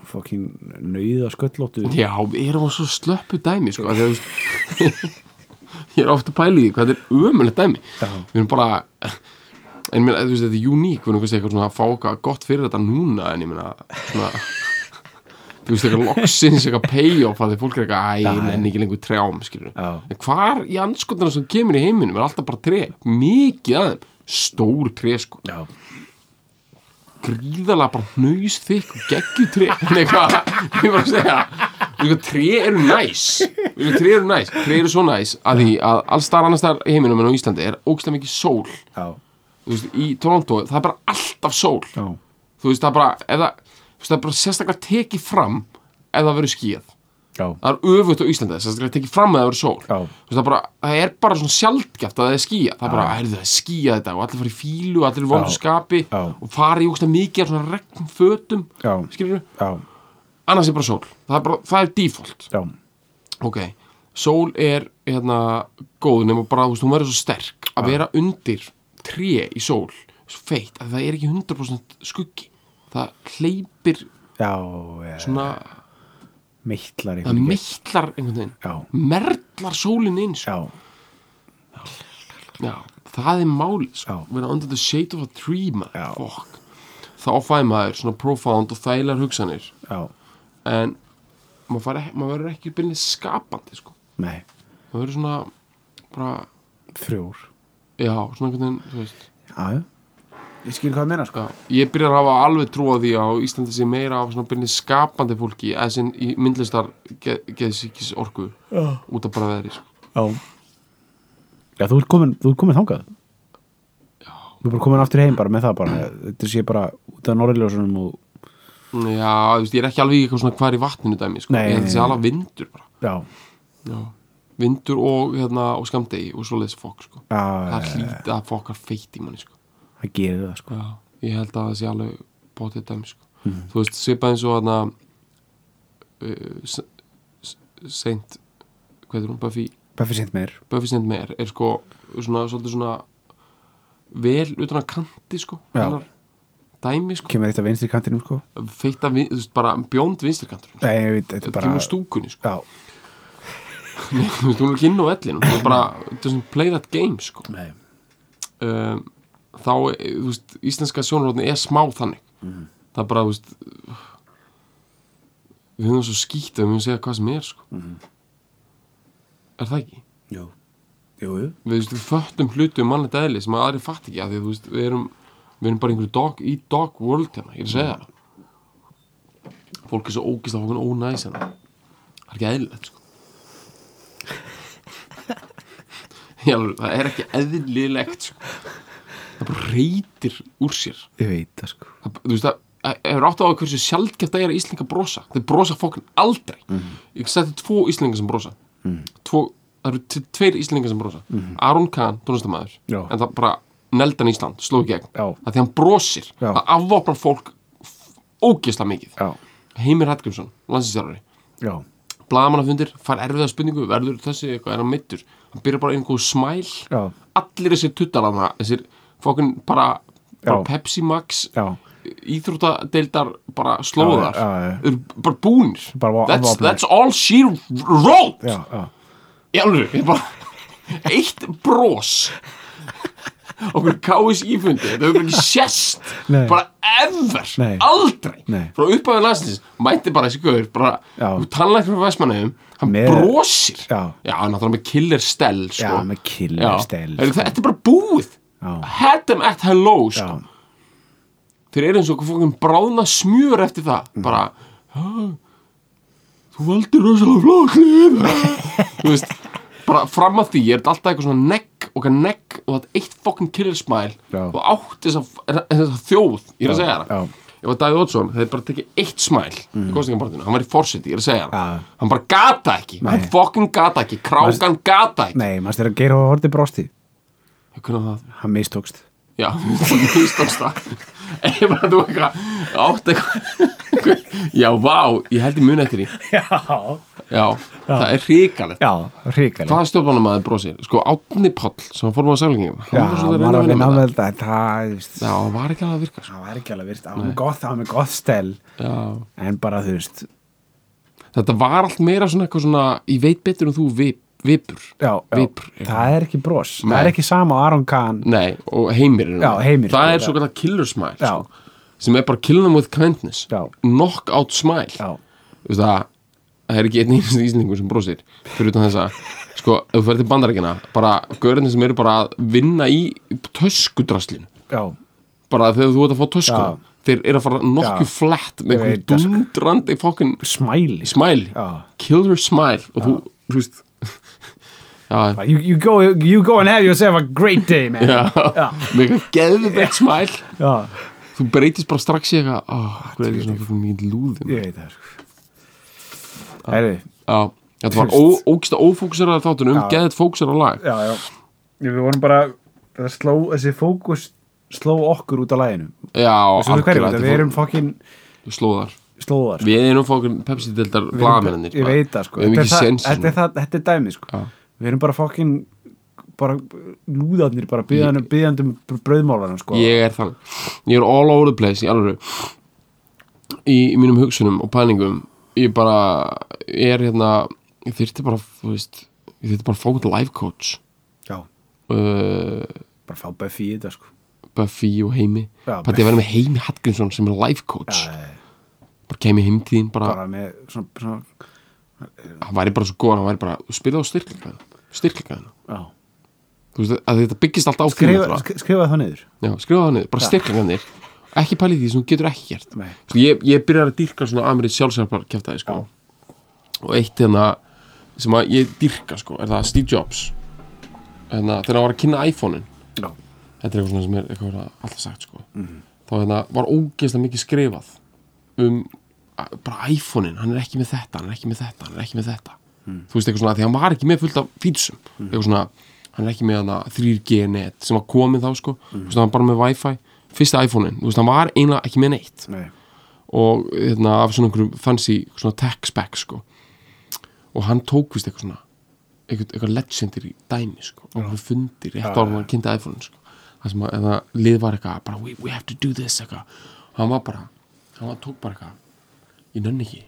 Speaker 4: fucking nauða sköllóttu
Speaker 3: já, við erum á svo slöppu dæmi sko að því að þú veist ég er ofta pæli í því hvað þetta er ömulegt dæmi
Speaker 4: Já.
Speaker 3: við erum bara en mér, þú veist, þetta er uník við erum kannski eitthvað svona að fá eitthvað gott fyrir þetta núna en ég meina svona þú veist, eitthvað loksins, eitthvað payoff að því fólk er eitthvað, æ, ég nenni ekki lengur trjám skilur,
Speaker 4: Já.
Speaker 3: en hvar í anskotina sem kemur í heiminum er alltaf bara tre mikið aðeim, stór tre sko,
Speaker 4: já,
Speaker 3: gríðalega bara hnaus þykk og geggju tre en eitthvað, ég var að segja eitthvað, tre eru næs eitthvað, tre eru næs, tre eru svo næs að því að alls staðar annars staðar í heiminum en á Íslandi er ógstlega mikið sól
Speaker 4: já,
Speaker 3: Þú veist, í Toronto, það er bara alltaf sól
Speaker 4: já
Speaker 3: þú veist, það er bara, eða, þú veist, það er bara sérstaklega tekið fram ef það verður skíð
Speaker 4: já,
Speaker 3: það er öfugt á Íslandi, það er sérstaklega tekið fram ef það verður sól
Speaker 4: Já.
Speaker 3: þú veist, það, er bara, það er bara svona sjaldgæft að það er skíð það er bara, heyrðu, það er skíð þetta og allir fara í fílu og allir vondur
Speaker 4: Já.
Speaker 3: skapi
Speaker 4: Já.
Speaker 3: og fara í ógsta mikið af svona regnfötum
Speaker 4: Já.
Speaker 3: skilur
Speaker 4: já,
Speaker 3: annars er bara sól, það er, bara, það er default
Speaker 4: já,
Speaker 3: ok, sól er hérna, góð nema bara, þú veist, hún verður svo sterk að vera undir tré í sól svo feitt, að það er ekki 100% skuggi það hleypir
Speaker 4: já, já eh,
Speaker 3: svona,
Speaker 4: meittlar
Speaker 3: það
Speaker 4: einhvern veginn.
Speaker 3: meittlar
Speaker 4: Já.
Speaker 3: einhvern veginn merlar sólinn inn sko.
Speaker 4: já,
Speaker 3: Já, það er máli sko.
Speaker 4: Já.
Speaker 3: vera under the shade of a tree
Speaker 4: Já.
Speaker 3: maður Fuck. þá fæ maður svona profound og þægilegar hugsanir
Speaker 4: já,
Speaker 3: en maður, fær ekki, maður verður ekki byrnið skapandi sko.
Speaker 4: nei
Speaker 3: maður verður svona bara,
Speaker 4: frjór,
Speaker 3: já, svona einhvern veginn þú veist
Speaker 4: já, já ég skil hvað það meina sko,
Speaker 3: Já, ég byrjar að hafa alveg trú á því að á Íslandi sé meira af svona byrni skapandi fólki eða sem í myndlistar ge geðsíkis orku
Speaker 4: Já.
Speaker 3: út af bara veðri sko.
Speaker 4: já já, þú ert komin, þú ert komin þangað já þú ert bara komin aftur heim bara með það bara þetta sé bara út af norðurljósunum og
Speaker 3: Já, þú veist, ég er ekki alveg í eitthvað svona hvar í vatninu dæmi sko.
Speaker 4: Nei,
Speaker 3: ég held að
Speaker 4: nei,
Speaker 3: sé
Speaker 4: nei.
Speaker 3: alveg vindur bara
Speaker 4: já,
Speaker 3: Já. vindur og, hérna, og skamdegi og svoleiðis fokk sko.
Speaker 4: já,
Speaker 3: það
Speaker 4: já, já,
Speaker 3: hlýta að fokkar feitt í manni sko.
Speaker 4: það gerir það sko
Speaker 3: Já, ég held að það sé alveg bótið dæmi sko.
Speaker 4: Mhm.
Speaker 3: þú veist, svipað eins og hérna uh, seint hvað er hún, Buffy
Speaker 4: Buffy sent meir,
Speaker 3: Buffy St. Meir er sko svona, svolítið svona vel utan að kanti sko
Speaker 4: Já.
Speaker 3: hennar dæmi sko
Speaker 4: kemur eitt af vinstri kantinum sko
Speaker 3: feitt að, þú veist, bara bjónd vinstirkantur
Speaker 4: nei, ég veit, þetta
Speaker 3: þetta
Speaker 4: er bara
Speaker 3: kemur úr stúkunni sko
Speaker 4: já,
Speaker 3: þú veist, hún er ekki inn á vellinum það er bara, þetta er svona play that game sko
Speaker 4: nei,
Speaker 3: um, þá, eh, þú veist, íslenska sjónarotni er smá þannig það er bara, þú veist við höfum svo skýtt að við höfum segja hvað sem er sko er það ekki?
Speaker 4: jú jú, jú
Speaker 3: við, þú veist, við föttum hluti um mannlegt eðli sem aðri fatt ekki að því að, þú veist, við erum við erum bara einhverju dog, í dog world hérna, ég er að segja það fólk er svo ógist af okkur ónæs hérna það er ekki eðlilegt sko. Í alvöru, það er ekki eðlilegt sko. það bara reytir úr sér
Speaker 4: Ég veit það sko
Speaker 3: það, þú veist að hefur átt á að hversu sjaldgæft það er að Íslinga brosa þeir brosa fólkin aldrei
Speaker 4: Mhm.
Speaker 3: ég seti tvo Íslinga sem brosa tvo, það eru t- tveir Íslinga sem brosa Aron Kahn, tónlistamæður
Speaker 4: Mhm. Já.
Speaker 3: en það bara neldan Ísland, sló í gegn
Speaker 4: Já.
Speaker 3: að því hann brosir,
Speaker 4: Já.
Speaker 3: það afvopnar fólk f- ógeðslega mikið
Speaker 4: já,
Speaker 3: Heimir Hallgrímsson, landsinsjárari
Speaker 4: já,
Speaker 3: blaðamannafundir, fær erfiða spurningu verður þessi eitthvað, er hann mittur hann byrjar bara einhver smæl
Speaker 4: já,
Speaker 3: allir þessir tuttalana, þessir fókun bara, bara
Speaker 4: Já.
Speaker 3: Pepsi Max
Speaker 4: já
Speaker 3: íþróttadeildar bara slóðar,
Speaker 4: Já, já, já.
Speaker 3: eru bara búnir
Speaker 4: Bara
Speaker 3: that's,
Speaker 4: afvopnaðir.
Speaker 3: that's all she wrote
Speaker 4: já, já,
Speaker 3: Í alveg, ég bara Eitt brós Okkur KSI fundi Þetta hefur ekki sést
Speaker 4: Nei.
Speaker 3: Bara ever,
Speaker 4: Nei.
Speaker 3: aldrei
Speaker 4: Nei.
Speaker 3: Frá upphafið landsins, mætti bara þessi guður bara,
Speaker 4: Já.
Speaker 3: Þú talar frá Vestmannaðum Hann
Speaker 4: Með-
Speaker 3: brosir
Speaker 4: Já.
Speaker 3: náttúrulega með killer stel sko.
Speaker 4: Já, með killer
Speaker 3: Já.
Speaker 4: stel,
Speaker 3: Heyrðu,
Speaker 4: sko.
Speaker 3: Þetta er bara búið
Speaker 4: Já.
Speaker 3: Had them at hello
Speaker 4: já,
Speaker 3: sko. Þeir eru eins og fókum bráðna smjör eftir það
Speaker 4: Mm.
Speaker 3: Bara "Ah, Þú valdir rosalega flóklið Þú veist Bara fram að því er þetta alltaf eitthvað svona negg Og eitthvað negg og þetta eitt fokkin killer smile
Speaker 4: Já.
Speaker 3: Og átt þessa, þessa þjóð Ég er að
Speaker 4: Já,
Speaker 3: segja
Speaker 4: já.
Speaker 3: það Ef að Davíð Oddsson hefði bara tekið eitt smæl mm. í kostningabortinu, hann var í forseti, ég er að segja það
Speaker 4: Já.
Speaker 3: Hann bara gata ekki, hann fokkin gata ekki, krákan gata ekki
Speaker 4: nei, maður styrir að geira og horti brosti
Speaker 3: Hvernig var það?
Speaker 4: hann mistókst
Speaker 3: Já, mistókst það Ég bara þú eitthvað Átt eitthvað Já, vá, ég held ég muni eftir því
Speaker 4: já,
Speaker 3: Já, það er hrikalegt
Speaker 4: já, ríkilega
Speaker 3: Hvað stjórnum maður brosir? Sko, Átni Páll sem var formáð að sælingum
Speaker 4: já, maður er að vinna með þetta en það, þú veist,
Speaker 3: Já, hann var ekki alveg að virka sko.
Speaker 4: það var ekki alveg virkt það var með gott, það var með gott stel
Speaker 3: Já.
Speaker 4: en bara, þú veist,
Speaker 3: Þetta var allt meira svona eitthvað svona Ég veit betur en þú vip, vipur
Speaker 4: já, já
Speaker 3: Vipr, eitthvað.
Speaker 4: það er ekki bros, það
Speaker 3: Nei.
Speaker 4: er ekki sama og Aron Kahn
Speaker 3: Nei, og heimir
Speaker 4: Já, Heimir,
Speaker 3: Það
Speaker 4: sko,
Speaker 3: er svo kallar killer smile
Speaker 4: Já.
Speaker 3: sko, sem er bara kill them with kindness
Speaker 4: Já.
Speaker 3: knock out smile
Speaker 4: Já.
Speaker 3: Þú veist að það er ekki einn einhverjum íslendingur sem brosir fyrir utan þess að sko, ef þú ferð til bandarækina bara görðin sem eru bara að vinna í töskudraslin
Speaker 4: já,
Speaker 3: bara þegar þú ert að fá tösku
Speaker 4: Já.
Speaker 3: þeir eru að fara nokkuð flett með
Speaker 4: Ég veit
Speaker 3: einhverjum
Speaker 4: það, sko.
Speaker 3: dundrandi fokkin
Speaker 4: smæli
Speaker 3: smile
Speaker 4: Já.
Speaker 3: killer smile og þú, þú veist Já,
Speaker 4: you, you, go, you go and have yourself a great day, man
Speaker 3: já, já. með geðvegt smile
Speaker 4: já.
Speaker 3: þú breytist bara strax í eitthvað oh, hvað er ég svona fyrir mikið lúðum
Speaker 4: Ég veit það sko
Speaker 3: Ah.
Speaker 4: Herri,
Speaker 3: já, þetta var
Speaker 4: Fyrst.
Speaker 3: ó- ógeðslega ófókuseraður þáttur um
Speaker 4: Já.
Speaker 3: geðið fókuseraður lag
Speaker 4: já, já Ég, Við vorum bara, það sló, þessi fókus sló okkur út á læginu
Speaker 3: já,
Speaker 4: Svo við hverjum,
Speaker 3: algjörlega,
Speaker 4: þetta við erum fokkin
Speaker 3: fór- slóðar
Speaker 4: slóðar sko.
Speaker 3: við erum fókur pepsi-dildar
Speaker 4: Við erum-
Speaker 3: blagamennir
Speaker 4: Ég veit það sko
Speaker 3: við erum
Speaker 4: Þetta
Speaker 3: ekki
Speaker 4: er það-
Speaker 3: sens
Speaker 4: Þetta er það, þetta er dæmi sko
Speaker 3: Já.
Speaker 4: Við erum bara fokkin bara lúðarnir, bara byðanum, byðandum brauðmálanum sko
Speaker 3: ég er þannig, ég er all over the place í alveg í, í mínum hugsunum og pælingum ég bara, ég er hérna ég þyrfti bara, þú veist ég þyrfti bara að fá út life coach
Speaker 4: Já,
Speaker 3: uh,
Speaker 4: bara fá Buffy í þetta sko
Speaker 3: Buffy og Heimi
Speaker 4: Já,
Speaker 3: bara því að vera með Heimi Hallgrímsson sem er life coach
Speaker 4: Eh,
Speaker 3: bara kemi heim til þín bara,
Speaker 4: Bara með svona, svona
Speaker 3: hann væri bara svo góð hann væri bara, þú spilaði á styrklingaðina styrklingaðina,
Speaker 4: já.
Speaker 3: þú veist að þetta byggist allt á því
Speaker 4: Skrifa,
Speaker 3: náttúrulega.
Speaker 4: sk- skrifa það niður
Speaker 3: Já, skrifa það niður, bara styrklingaðinir ekki pæli því sem þú getur ekki gert
Speaker 4: Nei.
Speaker 3: Svo ég, ég byrjar að dýrka svona Amrið sjálfsjálfar kæftæði sko og eitt hérna sem að ég dýrka sko, er það Steve Jobs hérna, þegar hann var að kynna iPhone-in
Speaker 4: Já,
Speaker 3: þetta er eitthvað svona sem er eitthvað að alltaf sagt sko. þá hérna var ógeðslega mikið skrifað um a- bara iPhone-in, hann er ekki með þetta hann er ekki með þetta, hann er ekki með þetta þú veist eitthvað svona, því hann var ekki með fullt af fítsum eitthvað svona, hann er ekki með hana 3G-net sem var komið þá sko mm. veist, hann var bara með Wi-Fi, fyrsta iPhone-in þú veist, hann var eiginlega ekki með neitt
Speaker 4: nei,
Speaker 3: og hérna, af svona einhverjum fancy svona tech spec sko og hann tók vist eitthvað svona eitthvað, eitthvað legendir í dæmi sko og hann fundir rétt ára hann kynnti iPhone sko það sem að eða lið var eitthvað bara we, we have to do this eitthvað og hann var bara, hann var, tók bara eitthvað ég nenni ekki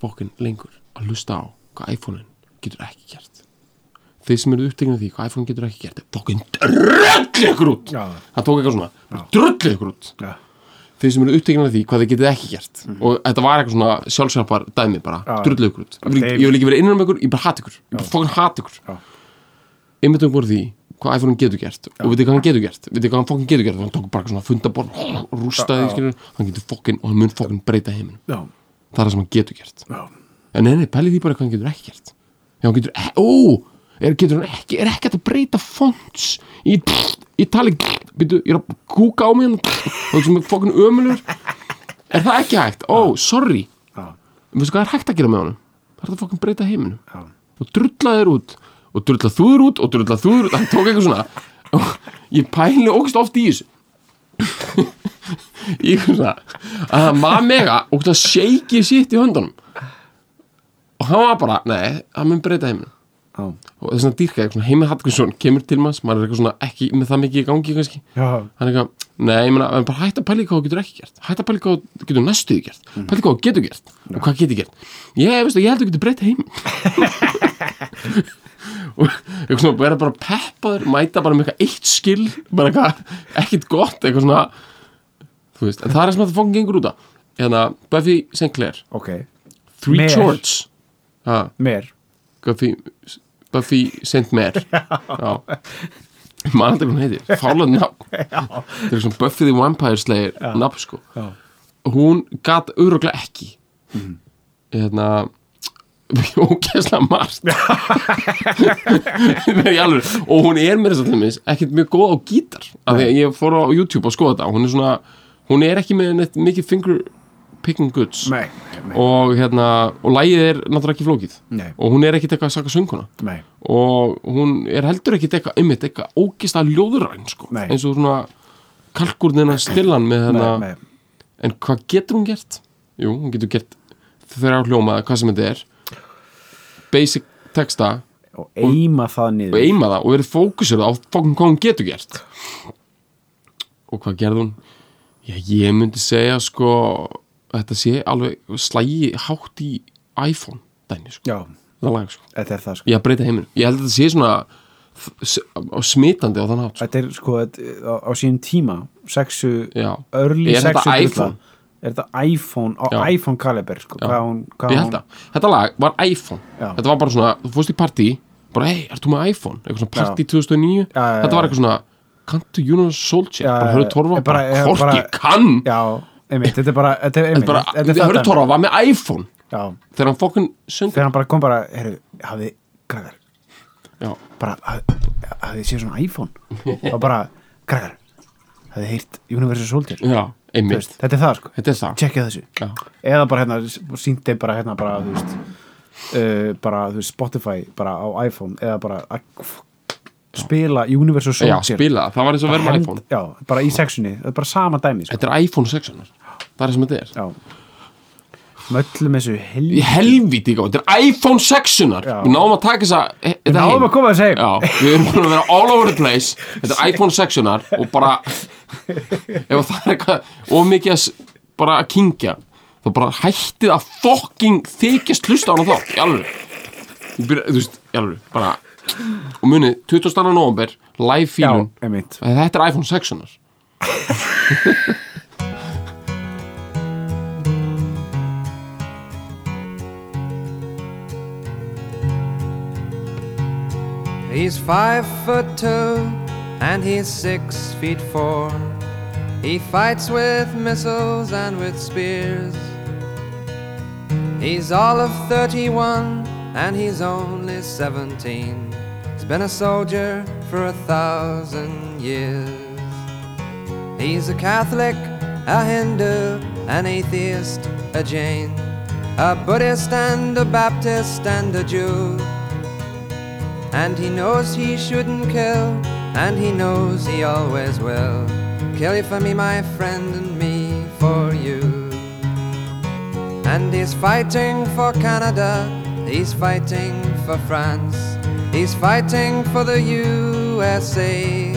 Speaker 3: bókin lengur að hlusta á hvað iPhone-in getur ekki gert þeir sem eru uppteknir af því hvað iPhone getur ekki gert er bókin dröll ykkur út
Speaker 4: Já.
Speaker 3: hann tók eitthvað svona dröll ykkur út
Speaker 4: já
Speaker 3: þeir sem eru uppteknir af því hvað þeir getið ekki gert og þetta var eitthvað svona sjálfsjálfar dæmi bara,
Speaker 4: Mhm. Já.
Speaker 3: drullið ykkur út Ég vil-
Speaker 4: Þeir-
Speaker 3: ég vil ekki vera innan um ykkur, ég bara hata ykkur ég bara fokkan hata ykkur
Speaker 4: Já.
Speaker 3: einmitt um voru því hvað iPhone getur gert og veitir hvað hann getur gert veitir hvað hann fokkin getur gert og hann tók bara svona fundaborð og rústaði, skilur, hann getur fokkin og hann mun fokkin breyta heiminn
Speaker 4: Já,
Speaker 3: það er það sem hann getur gert
Speaker 4: já,
Speaker 3: en nei, nei, pæli því bara hvað hann getur ekki gert já, hann getur, e ó, er, getur hann ekki er ekki hægt að breyta fonts í, í tali, byrju, ég er að kúka á mig hann, og sem er fokkin ömulur er það ekki hægt ó, sorry,
Speaker 4: já,
Speaker 3: veistu hvað er hægt að gera með honum það er það fokkin breyta heiminum
Speaker 4: já,
Speaker 3: og drulla þér út og drulla þú þér út og drulla þú þér út hann tók eitthvað svona ég pæli ógst oft í þessu ég kom svona að það var mega og það shaky sitt í höndunum og hann var bara, nei, hann mun breyta heiminn
Speaker 4: Já.
Speaker 3: og þess að dýrka, eitthvað svona Heimir Hallgrímsson kemur til manns, maður er eitthvað svona ekki með það mikið í gangi kannski
Speaker 4: Já.
Speaker 3: hann er eitthvað, nei, ég meina, en bara hætt að pæla í hvað þú getur ekki gert hætt að pæla í hvað þú getur næstuði gert mm. pæla í hvað þú getur gert og hvað getur gert ég, veistu, ég held að þú getur breytta heim og eitthvað svona, vera bara peppaður mæta bara með eitthvað eitt skil bara eitthvað, ekkit gott, eitthvað svona þú veist, en það er það sem að það fókin gengur út á hérna, Buffy St. Clair
Speaker 4: Ok,
Speaker 3: Three
Speaker 4: Mer.
Speaker 3: Chords ha,
Speaker 4: mér
Speaker 3: Buffy, Buffy St. Mer já maður aldrei hvað hún heitir, fálega nafn það er svona Buffy the Vampire Slayer nafn sko
Speaker 4: Já.
Speaker 3: hún gat öruglega ekki hérna ógeðslega margt Nei, í alvöru. og hún er mér þess að þeimins ekkert mjög góð á gítar af því að ég fór á YouTube að skoða þetta hún er svona, hún er ekki með neitt mikið finger picking goods
Speaker 4: Nei, nei,
Speaker 3: og hérna, og lægið er náttúrulega ekki flókið
Speaker 4: nei,
Speaker 3: og hún er ekkert eitthvað að saka sönguna
Speaker 4: nei.
Speaker 3: og hún er heldur ekkit eitthvað einmitt eitthvað ógist að ljóðuræn sko.
Speaker 4: Nei.
Speaker 3: eins og svona kalkurnina stillan með hérna
Speaker 4: nei,
Speaker 3: hennar
Speaker 4: nei.
Speaker 3: en hvað getur hún gert? Jú, hún getur gert þrjá hljóma eða hvað sem þetta er basic texta
Speaker 4: Og eima það
Speaker 3: og
Speaker 4: niður
Speaker 3: eima það og verið fókusur á fokkin hvað hún getur gert og hvað gerði hún? Já, ég myndi segja sko þetta sé alveg slægi hátt í iPhone dæni sko,
Speaker 4: Já,
Speaker 3: það lag sko
Speaker 4: þetta er það sko
Speaker 3: Já, breyta heiminn. Ég held að þetta sé svona s- á- smitandi á þann hátt. sko.
Speaker 4: Þetta er sko, þetta- á, á sínum tíma Sexu,
Speaker 3: Já.
Speaker 4: early
Speaker 3: Er þetta
Speaker 4: sexu
Speaker 3: iPhone?
Speaker 4: Er þetta iPhone, á
Speaker 3: Já.
Speaker 4: iPhone kaliber sko
Speaker 3: Já.
Speaker 4: Hvað hún, hvað
Speaker 3: Ég
Speaker 4: hún
Speaker 3: held að. Þetta lag var iPhone.
Speaker 4: Já.
Speaker 3: Þetta var bara svona, þú fórst í partí, bara, hei, ertu með iPhone? Eitthvað svona partí 2009.
Speaker 4: Já, já, já.
Speaker 3: þetta var eitthvað svona, kanntu Júna Solskjaer?
Speaker 4: Já,
Speaker 3: Bara, hörðu Torfa,
Speaker 4: ég bara-
Speaker 3: bara,
Speaker 4: ég
Speaker 3: hvort
Speaker 4: bara-
Speaker 3: ég kann.
Speaker 4: Já, einmitt, þetta er bara Þetta er
Speaker 3: Þetta
Speaker 4: einmitt,
Speaker 3: bara,
Speaker 4: þetta er
Speaker 3: hörðu Torfa var með iPhone.
Speaker 4: Já,
Speaker 3: Þegar hann fokkun söng.
Speaker 4: þegar hann bara kom bara, heyrðu, hafið, krakkar
Speaker 3: Já.
Speaker 4: bara hafði- hafði séð svona iPhone og bara, krakkar hafði heyrt Universal Soldier Þú
Speaker 3: Já, einmitt.
Speaker 4: veist, þetta er það sko,
Speaker 3: Þetta er það.
Speaker 4: tjekkið þessu
Speaker 3: Já.
Speaker 4: eða bara hérna, síndi bara hérna bara, þú veist uh, bara, þú veist, Spotify bara á iPhone eða bara að spila Universal
Speaker 3: Já,
Speaker 4: Soldier
Speaker 3: spila það. Það var eins og verð með
Speaker 4: Hend-
Speaker 3: iPhone.
Speaker 4: já, bara í sexunni, það er bara sama dæmi sko.
Speaker 3: Þetta er iPhone 6 -unar. Það er það sem þetta er.
Speaker 4: já möllum þessu hel
Speaker 3: Í helvíti gáð, þetta er iPhone 6-unar
Speaker 4: Já.
Speaker 3: Við náum að taka þessa e-
Speaker 4: við
Speaker 3: þetta
Speaker 4: náum
Speaker 3: heim.
Speaker 4: að koma að segja
Speaker 3: Já, við erum búin að vera all over the place Þetta er iPhone 6-unar og bara ef það er eitthvað of mikið að s- bara að kingja þá bara hættið að fucking þykjast hlusta á hana þá, í alveg byrja, Þú veist, í alveg, bara og munið, 20. november live
Speaker 4: já,
Speaker 3: fílun,
Speaker 4: einmitt
Speaker 3: þetta er iPhone 6-unar
Speaker 2: He's five foot two and he's six feet four. He fights with missiles and with spears. He's all of 31 and he's only 17. He's been a soldier for a thousand years. He's a Catholic, a Hindu, an atheist, a Jain, a Buddhist, and a Baptist, and a Jew. And he knows he shouldn't kill, and he knows he always will. Kill you for me, my friend, and me for you. And he's fighting for Canada, he's fighting for France, he's fighting for the USA.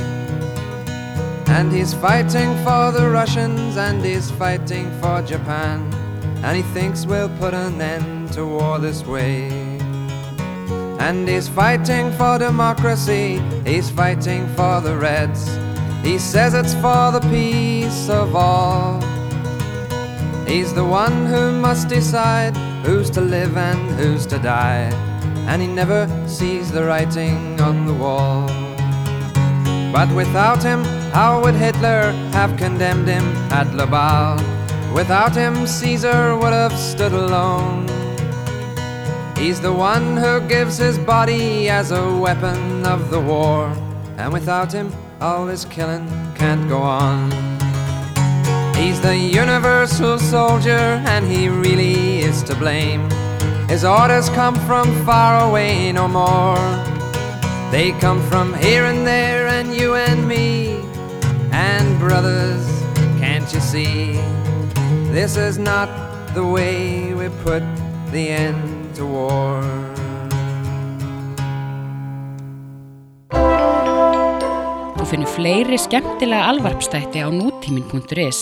Speaker 2: And he's fighting for the Russians, and he's fighting for Japan. And he thinks we'll put an end to war this way. And he's fighting for democracy, he's fighting for the Reds. He says it's for the peace of all. He's the one who must decide who's to live and who's to die. And he never sees the writing on the wall. But without him, how would Hitler have condemned him at Labal? Without him, Caesar would have stood alone. He's the one who gives his body as a weapon of the war. And without him, all this killing can't go on. He's the universal soldier, and he really is to blame. His orders come from far away no more. They come from here and there and you and me and brothers, can't you see? This is not the way we put the end to war.
Speaker 1: Þú finnir fleiri skemmtilega alvarpstætti á nútímin.is.